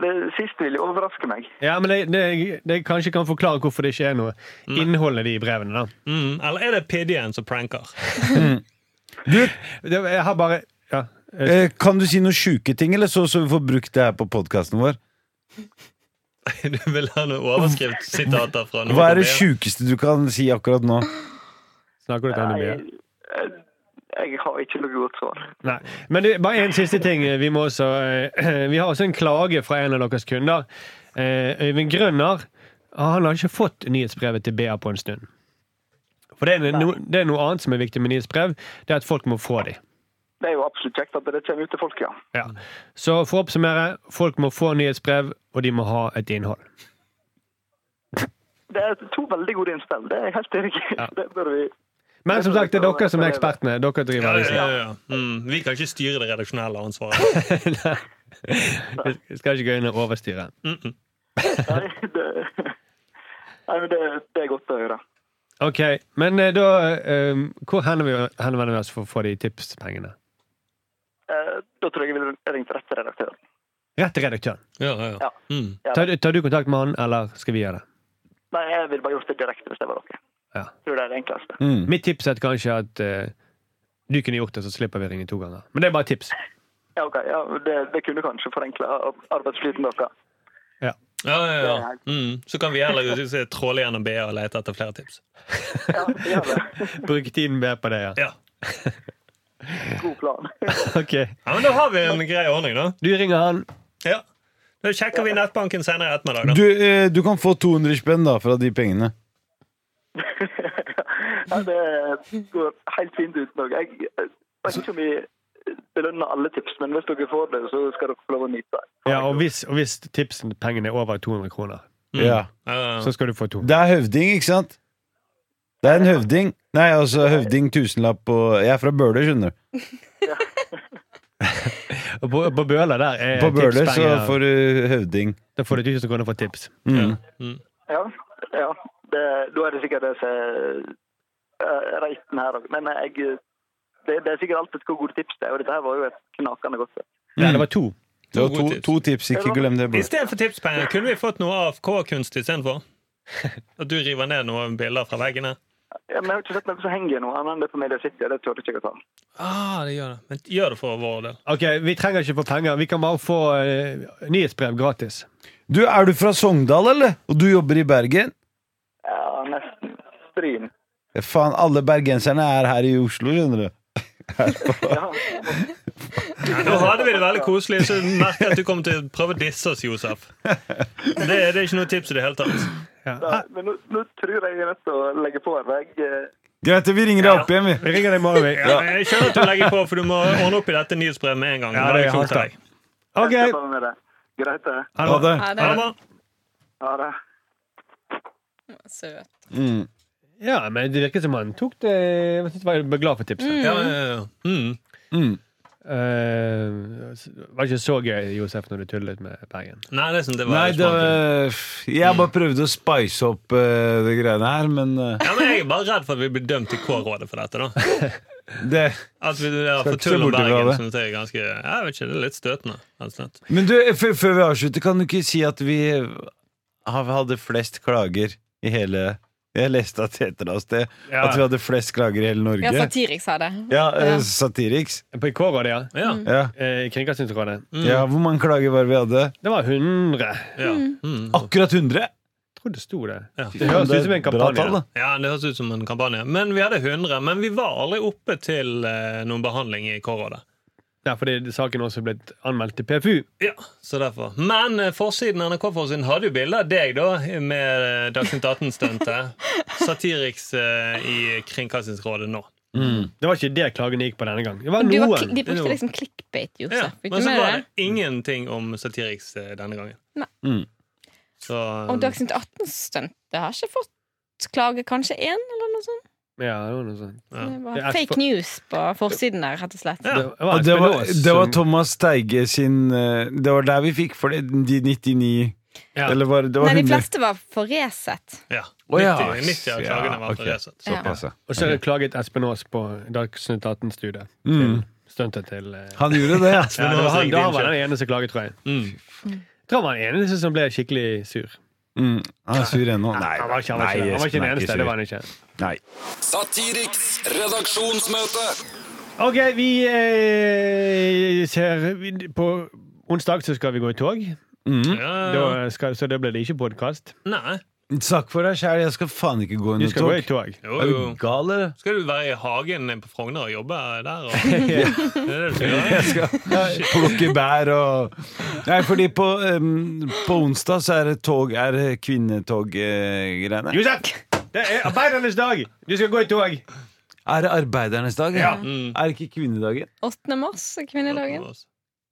A: Det siste vil jo overraske meg.
D: Ja, men det, det, det kanskje kan forklare hvorfor det ikke er noe innhold i de brevene. da.
C: Mm, eller er det PD-en som pranker?
D: Det- Jeg har bare ja. eh,
E: Eh, kan du si noen sjuke ting, eller så, så vi får brukt det her på podkasten vår?
C: Du vil ha noen overskriftssitater fra noen
E: Hva er det
C: på BA?
E: sjukeste du kan si akkurat nå?
D: Snakker du til han i BA?
A: Jeg, jeg, jeg har ikke noe godt svar.
D: Nei. Men det, bare en siste ting. eh, Vi, må også, eh, vi har også en klage fra en av deres kunder. Eh, Øyvind Grønner ah, han har ikke fått nyhetsbrevet til BA på en stund. For det er, no, det er noe annet som er viktig med nyhetsbrev. Det er at folk må få dem.
A: Det er jo absolutt kjekt at det kommer ut til folk, ja.
D: Ja. Så for å oppsummere, folk må få nyhetsbrev, og de må ha et innhold.
A: Det er to veldig gode innspill. Det er helt enig. Det bør vi
D: Men som sagt, det er dere som er ekspertene. Dere
C: Ja,
D: driver
C: ja,
D: avisen.
C: ja, ja. Mm, vi kan ikke styre det redaksjonelle ansvaret.
D: Vi skal ikke gå inn og overstyre.
A: Nei, det, nei, men det, det er godt å høre.
D: Ok, men eh, da eh, Hvor henvender vi- henvender vi oss for å få de tipspengene?
A: Eh, da tror jeg jeg vil ringe til rette redaktør.
D: Rett til redaktøren.
C: Ja, ja, ja.
A: Ja.
C: Mm.
D: Tar, du- tar du kontakt med han, eller skal vi gjøre det?
A: Nei, jeg ville bare gjort det direkte hvis det var dere.
D: Ja.
A: Tror det er det enkleste.
E: Mm.
D: Mitt tips er kanskje at eh, du kunne gjort det, så slipper vi å ringe to ganger. Men det er bare tips.
A: Ja, ok. Ja, det, det kunne kanskje forenkle ar- arbeidsflyten deres.
C: Ja, ja, ja. Mm. Så kan vi heller se- tråle gjennom BA og lete etter flere tips.
A: Ja, gjør det.
D: Bruk tiden mer på det, ja.
C: Ja.
A: God plan.
D: Ok.
C: ja, men Da har vi en grei ordning, da.
D: Du ringer han.
C: Ja. Da sjekker vi nettbanken senere i ettermiddag. da.
E: Du, eh, du kan få 200 spenn da fra de pengene.
A: Ja, det går helt fint uten noe. Jeg jeg vet ikke om vi belønner alle tips, men hvis dere får det, så skal dere få lov å nyte det.
D: Ja, og hvis, og hvis tipspengene er over 200 kroner,
E: Ja.
C: Ja, ja, ja.
D: så skal du få to.
E: Det er høvding, ikke sant? Det er en høvding. Nei, altså høvding tusenlapp og Jeg er fra Bøler, skjønner du.
D: Og på, på Bøler der er
E: På Bøler så
D: Eh, tipspenger-
E: får du høvding.
D: Da får du 1000 kroner for tips.
E: Mm.
A: Ja, ja. Det, da er det sikkert det som er reiten her òg. Men jeg det, det er sikkert alltid hvor gode tips det er, og dette her var jo et knakende godt et.
D: Ja, det var to.
E: Det var to, to tips, ikke glem det.
C: I
E: Bård.
C: stedet for tipspenger, kunne vi fått noe AFK-kunst istedenfor? At du river ned noen bilder fra veggene?
A: Ja, men jeg har ikke sett noe som henger nå, annet enn det på Media City, og det tør ikke jeg å ta.
C: Ah, det gjør det. Men gjør det for vår del.
D: Ok, Vi trenger ikke få penger. Vi kan bare få eh, nyhetsbrev gratis.
E: Du, er du fra Sogndal, eller? Og du jobber i Bergen?
A: Ja, nesten. Stryn.
E: Faen, alle bergenserne er her i Oslo, skjønner du.
A: Ja.
C: Nå hadde vi det veldig koselig, så jeg merker at du kommer til å prøve å disse oss, Josef. Det, det er ikke noe tips i det hele tatt.
D: Ja.
A: Nei, men nå, nå tror jeg jeg er nødt til å legge på. her, for Jeg, eh,
E: Greit, vi ringer deg opp igjen, vi.
D: Vi ringer deg i morgen, vi.
C: Ja, men Eh, jeg skjønner at du legger på, for du må ordne opp i dette nyhetsbrevet med en gang.
D: Ja, det er
C: Veldig klokt av
D: hardt,
C: deg.
A: jeg
D: OK.
A: skal ta med det. Greit, det.
B: Ja,
E: Ha det.
C: Ha
B: det
C: det bra.
A: Ha det.
B: var søt.
E: Mm.
D: Ja, men det virker som han tok det Jeg synes jeg var glad for tipset.
C: Ja, ja, ja. Mm.
E: Mm.
D: Eh, det var ikke så gøy, Josef, når du tullet med Bergen.
C: Nei, det, er sånn, det var
E: Nei, det,
C: smart.
E: jeg bare prøvde å spice opp eh, det greiene her, men eh,
C: Ja, men Jeg er bare redd for at vi blir dømt i K-rådet for dette. da
E: det
C: At vi ja,
E: Skal
C: får
E: ikke se
C: tull om
E: bort ifra
C: Bergen.
E: det.
C: Synes jeg, er ganske, jeg vet ikke, Det er litt støtende. rett og slett.
E: Men du, eh, før før vi avslutter, kan du ikke si at vi har- hadde flest klager i hele Jeg leste at det heter oss det.
D: Ja.
E: At vi hadde flest klager i hele Norge.
B: Ja, Satiriks sa det.
E: Ja, eh,
B: Ja.
E: Satiriks.
D: På K-rådet, ja.
C: Ja,
E: Ja.
D: Eh, I Kringkastingsrådet.
E: ja, hvor mange klager var det vi hadde?
D: Det var 100.
C: ja. Mm.
E: Akkurat 100!
D: Jeg tror det sto det.
C: Ja.
D: Det høres ut som en
E: Bra
D: kampanje.
E: tall, da.
C: ja, Det høres ut som en kampanje. Men vi hadde 100. Men vi var aldri oppe til eh, noen behandling i K-rådet.
D: Ja, fordi saken også er blitt anmeldt til PFU.
C: Ja, så derfor. Men eh, forsiden NRK-forsiden hadde jo bilde av deg, da, med eh, Dagsnytt 18-stuntet. Satiriks eh, i Kringkastingsrådet nå.
E: Mm.
D: Det var ikke det klagen gikk på denne gang. Det var
B: Du var,
D: noen.
B: kli- de
C: Det
B: brukte
C: var-
B: liksom clickbait,
C: Ja,
B: Josef. Fikk
C: men
B: du
C: så
B: med
C: var
B: deg det?
C: det ingenting om Satiriks eh, denne gangen.
B: Nei.
E: Mm.
C: Så eh,
B: Og Dagsnytt 18-stuntet har ikke fått klage kanskje én, eller noe sånn.
D: Ja, det var noe sånt.
C: Ja.
B: Det
D: Det
B: var
D: er
B: fake
D: for-
B: news på forsiden der, rett og slett.
C: Ja.
D: Det
E: Og det var,
D: Espelås
E: det var
D: som-
E: Thomas Steige sin eh, Det var der vi fikk for det, de 99
C: Ja.
E: Eller var det, det var
B: Nei, de
E: 100?
B: fleste var for Resett.
C: ja. 90,
E: Å, ja.
C: 90 av
E: Ja,
C: klagene var altså.
E: ok.
C: okay. forreset.
B: Ja.
E: Såpass, ja.
D: Og så klaget Espen Aas på Dagsnytt 18-studiet.
E: Mm.
D: Stuntet til eh,
E: Han gjorde det,
D: Ja,
E: ja.
D: det var han, da
C: Din
D: var
C: sjef.
D: han den eneste som klaget, tror jeg.
C: Mm.
D: Tror han var den eneste som ble skikkelig sur.
E: Mm. Han er sur ennå. Nei,
D: Han var ikke, han var
E: nei,
D: ikke, det. han var ikke
E: Espen
D: den
E: er
D: eneste.
E: sur.
D: det var han ikke.
E: Nei.
F: Satiriks redaksjonsmøte.
D: Ok, vi eh, ser vi- På onsdag så skal vi gå i tog.
E: Mm.
C: Ja, ja.
D: Da skal, så da blir det ikke podkast.
C: Nei.
E: Snakk Mm. for deg sjæl, jeg skal faen ikke gå
D: Du
E: under
D: skal gå i
E: tog.
D: tog.
C: Jo,
E: Er du
C: jo.
E: gal, eller?
C: Skal du være i hagen på Frogner og jobbe der? Og... Det er det du skal gjøre?
E: Nei, Plukke bær og Nei, fordi på, em, på onsdag så er det tog Er det eh, kvinnetog-greiene.
D: Josef! Det er arbeidernes dag! Du skal gå i tog.
E: er det arbeidernes dag? Ja.
C: Mm.
E: Er det ikke kvinnedagen?
B: 8. mars, kvinnedagen.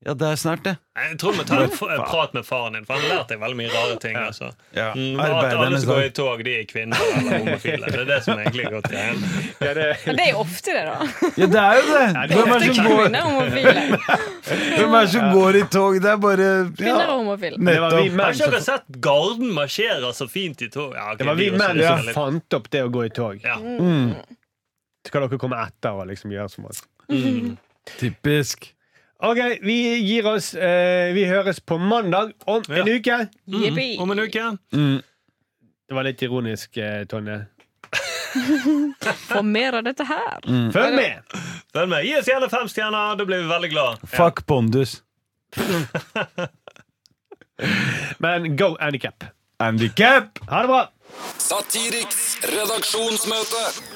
E: Ja, det er snart, det.
C: Nei, Jeg tror vi tar en f- en prat med faren din, for han har lært deg veldig mye rare ting. Altså.
E: Ja.
C: Mm, at alle
E: Arbeidernes
C: som går i
E: dag.
C: tog, de er kvinner eller homofile. Det er det som egentlig går til henne.
D: Ja, det er
B: Men det er jo ofte det, da.
E: Ja, det er jo det!
D: det er
E: Hvem er det
B: Ofte
E: som går,
B: kvinner og homofile.
E: hvem er det som går i tog? Det er bare
B: Kvinner
E: ja.
B: og homofile.
D: Det var vi
C: Har
E: Nettopp.
D: menn
C: ikke
D: som,
C: dere sett Garden marsjerer så fint i tog? Ja, ok,
D: det var vi
C: også
D: menn
C: er
D: som
C: litt-
D: fant opp det å gå i tog. Mm.
C: ja.
D: Skal dere komme etter og liksom gjøre som oss?
E: Typisk.
D: Ok, vi gir oss. eh, vi høres på mandag om en uke.
B: Jippi.
C: Mm. Om en uke.
D: Det var litt ironisk, eh, Tonje.
B: Få mer av dette her.
D: Følg med!
C: Følg med. Gi oss gjerne fem stjerner, da blir vi veldig glad.
E: Fuck Bondus.
D: Men go handicap.
E: Handicap!
D: Ha det bra!
F: Satiriks redaksjonsmøte.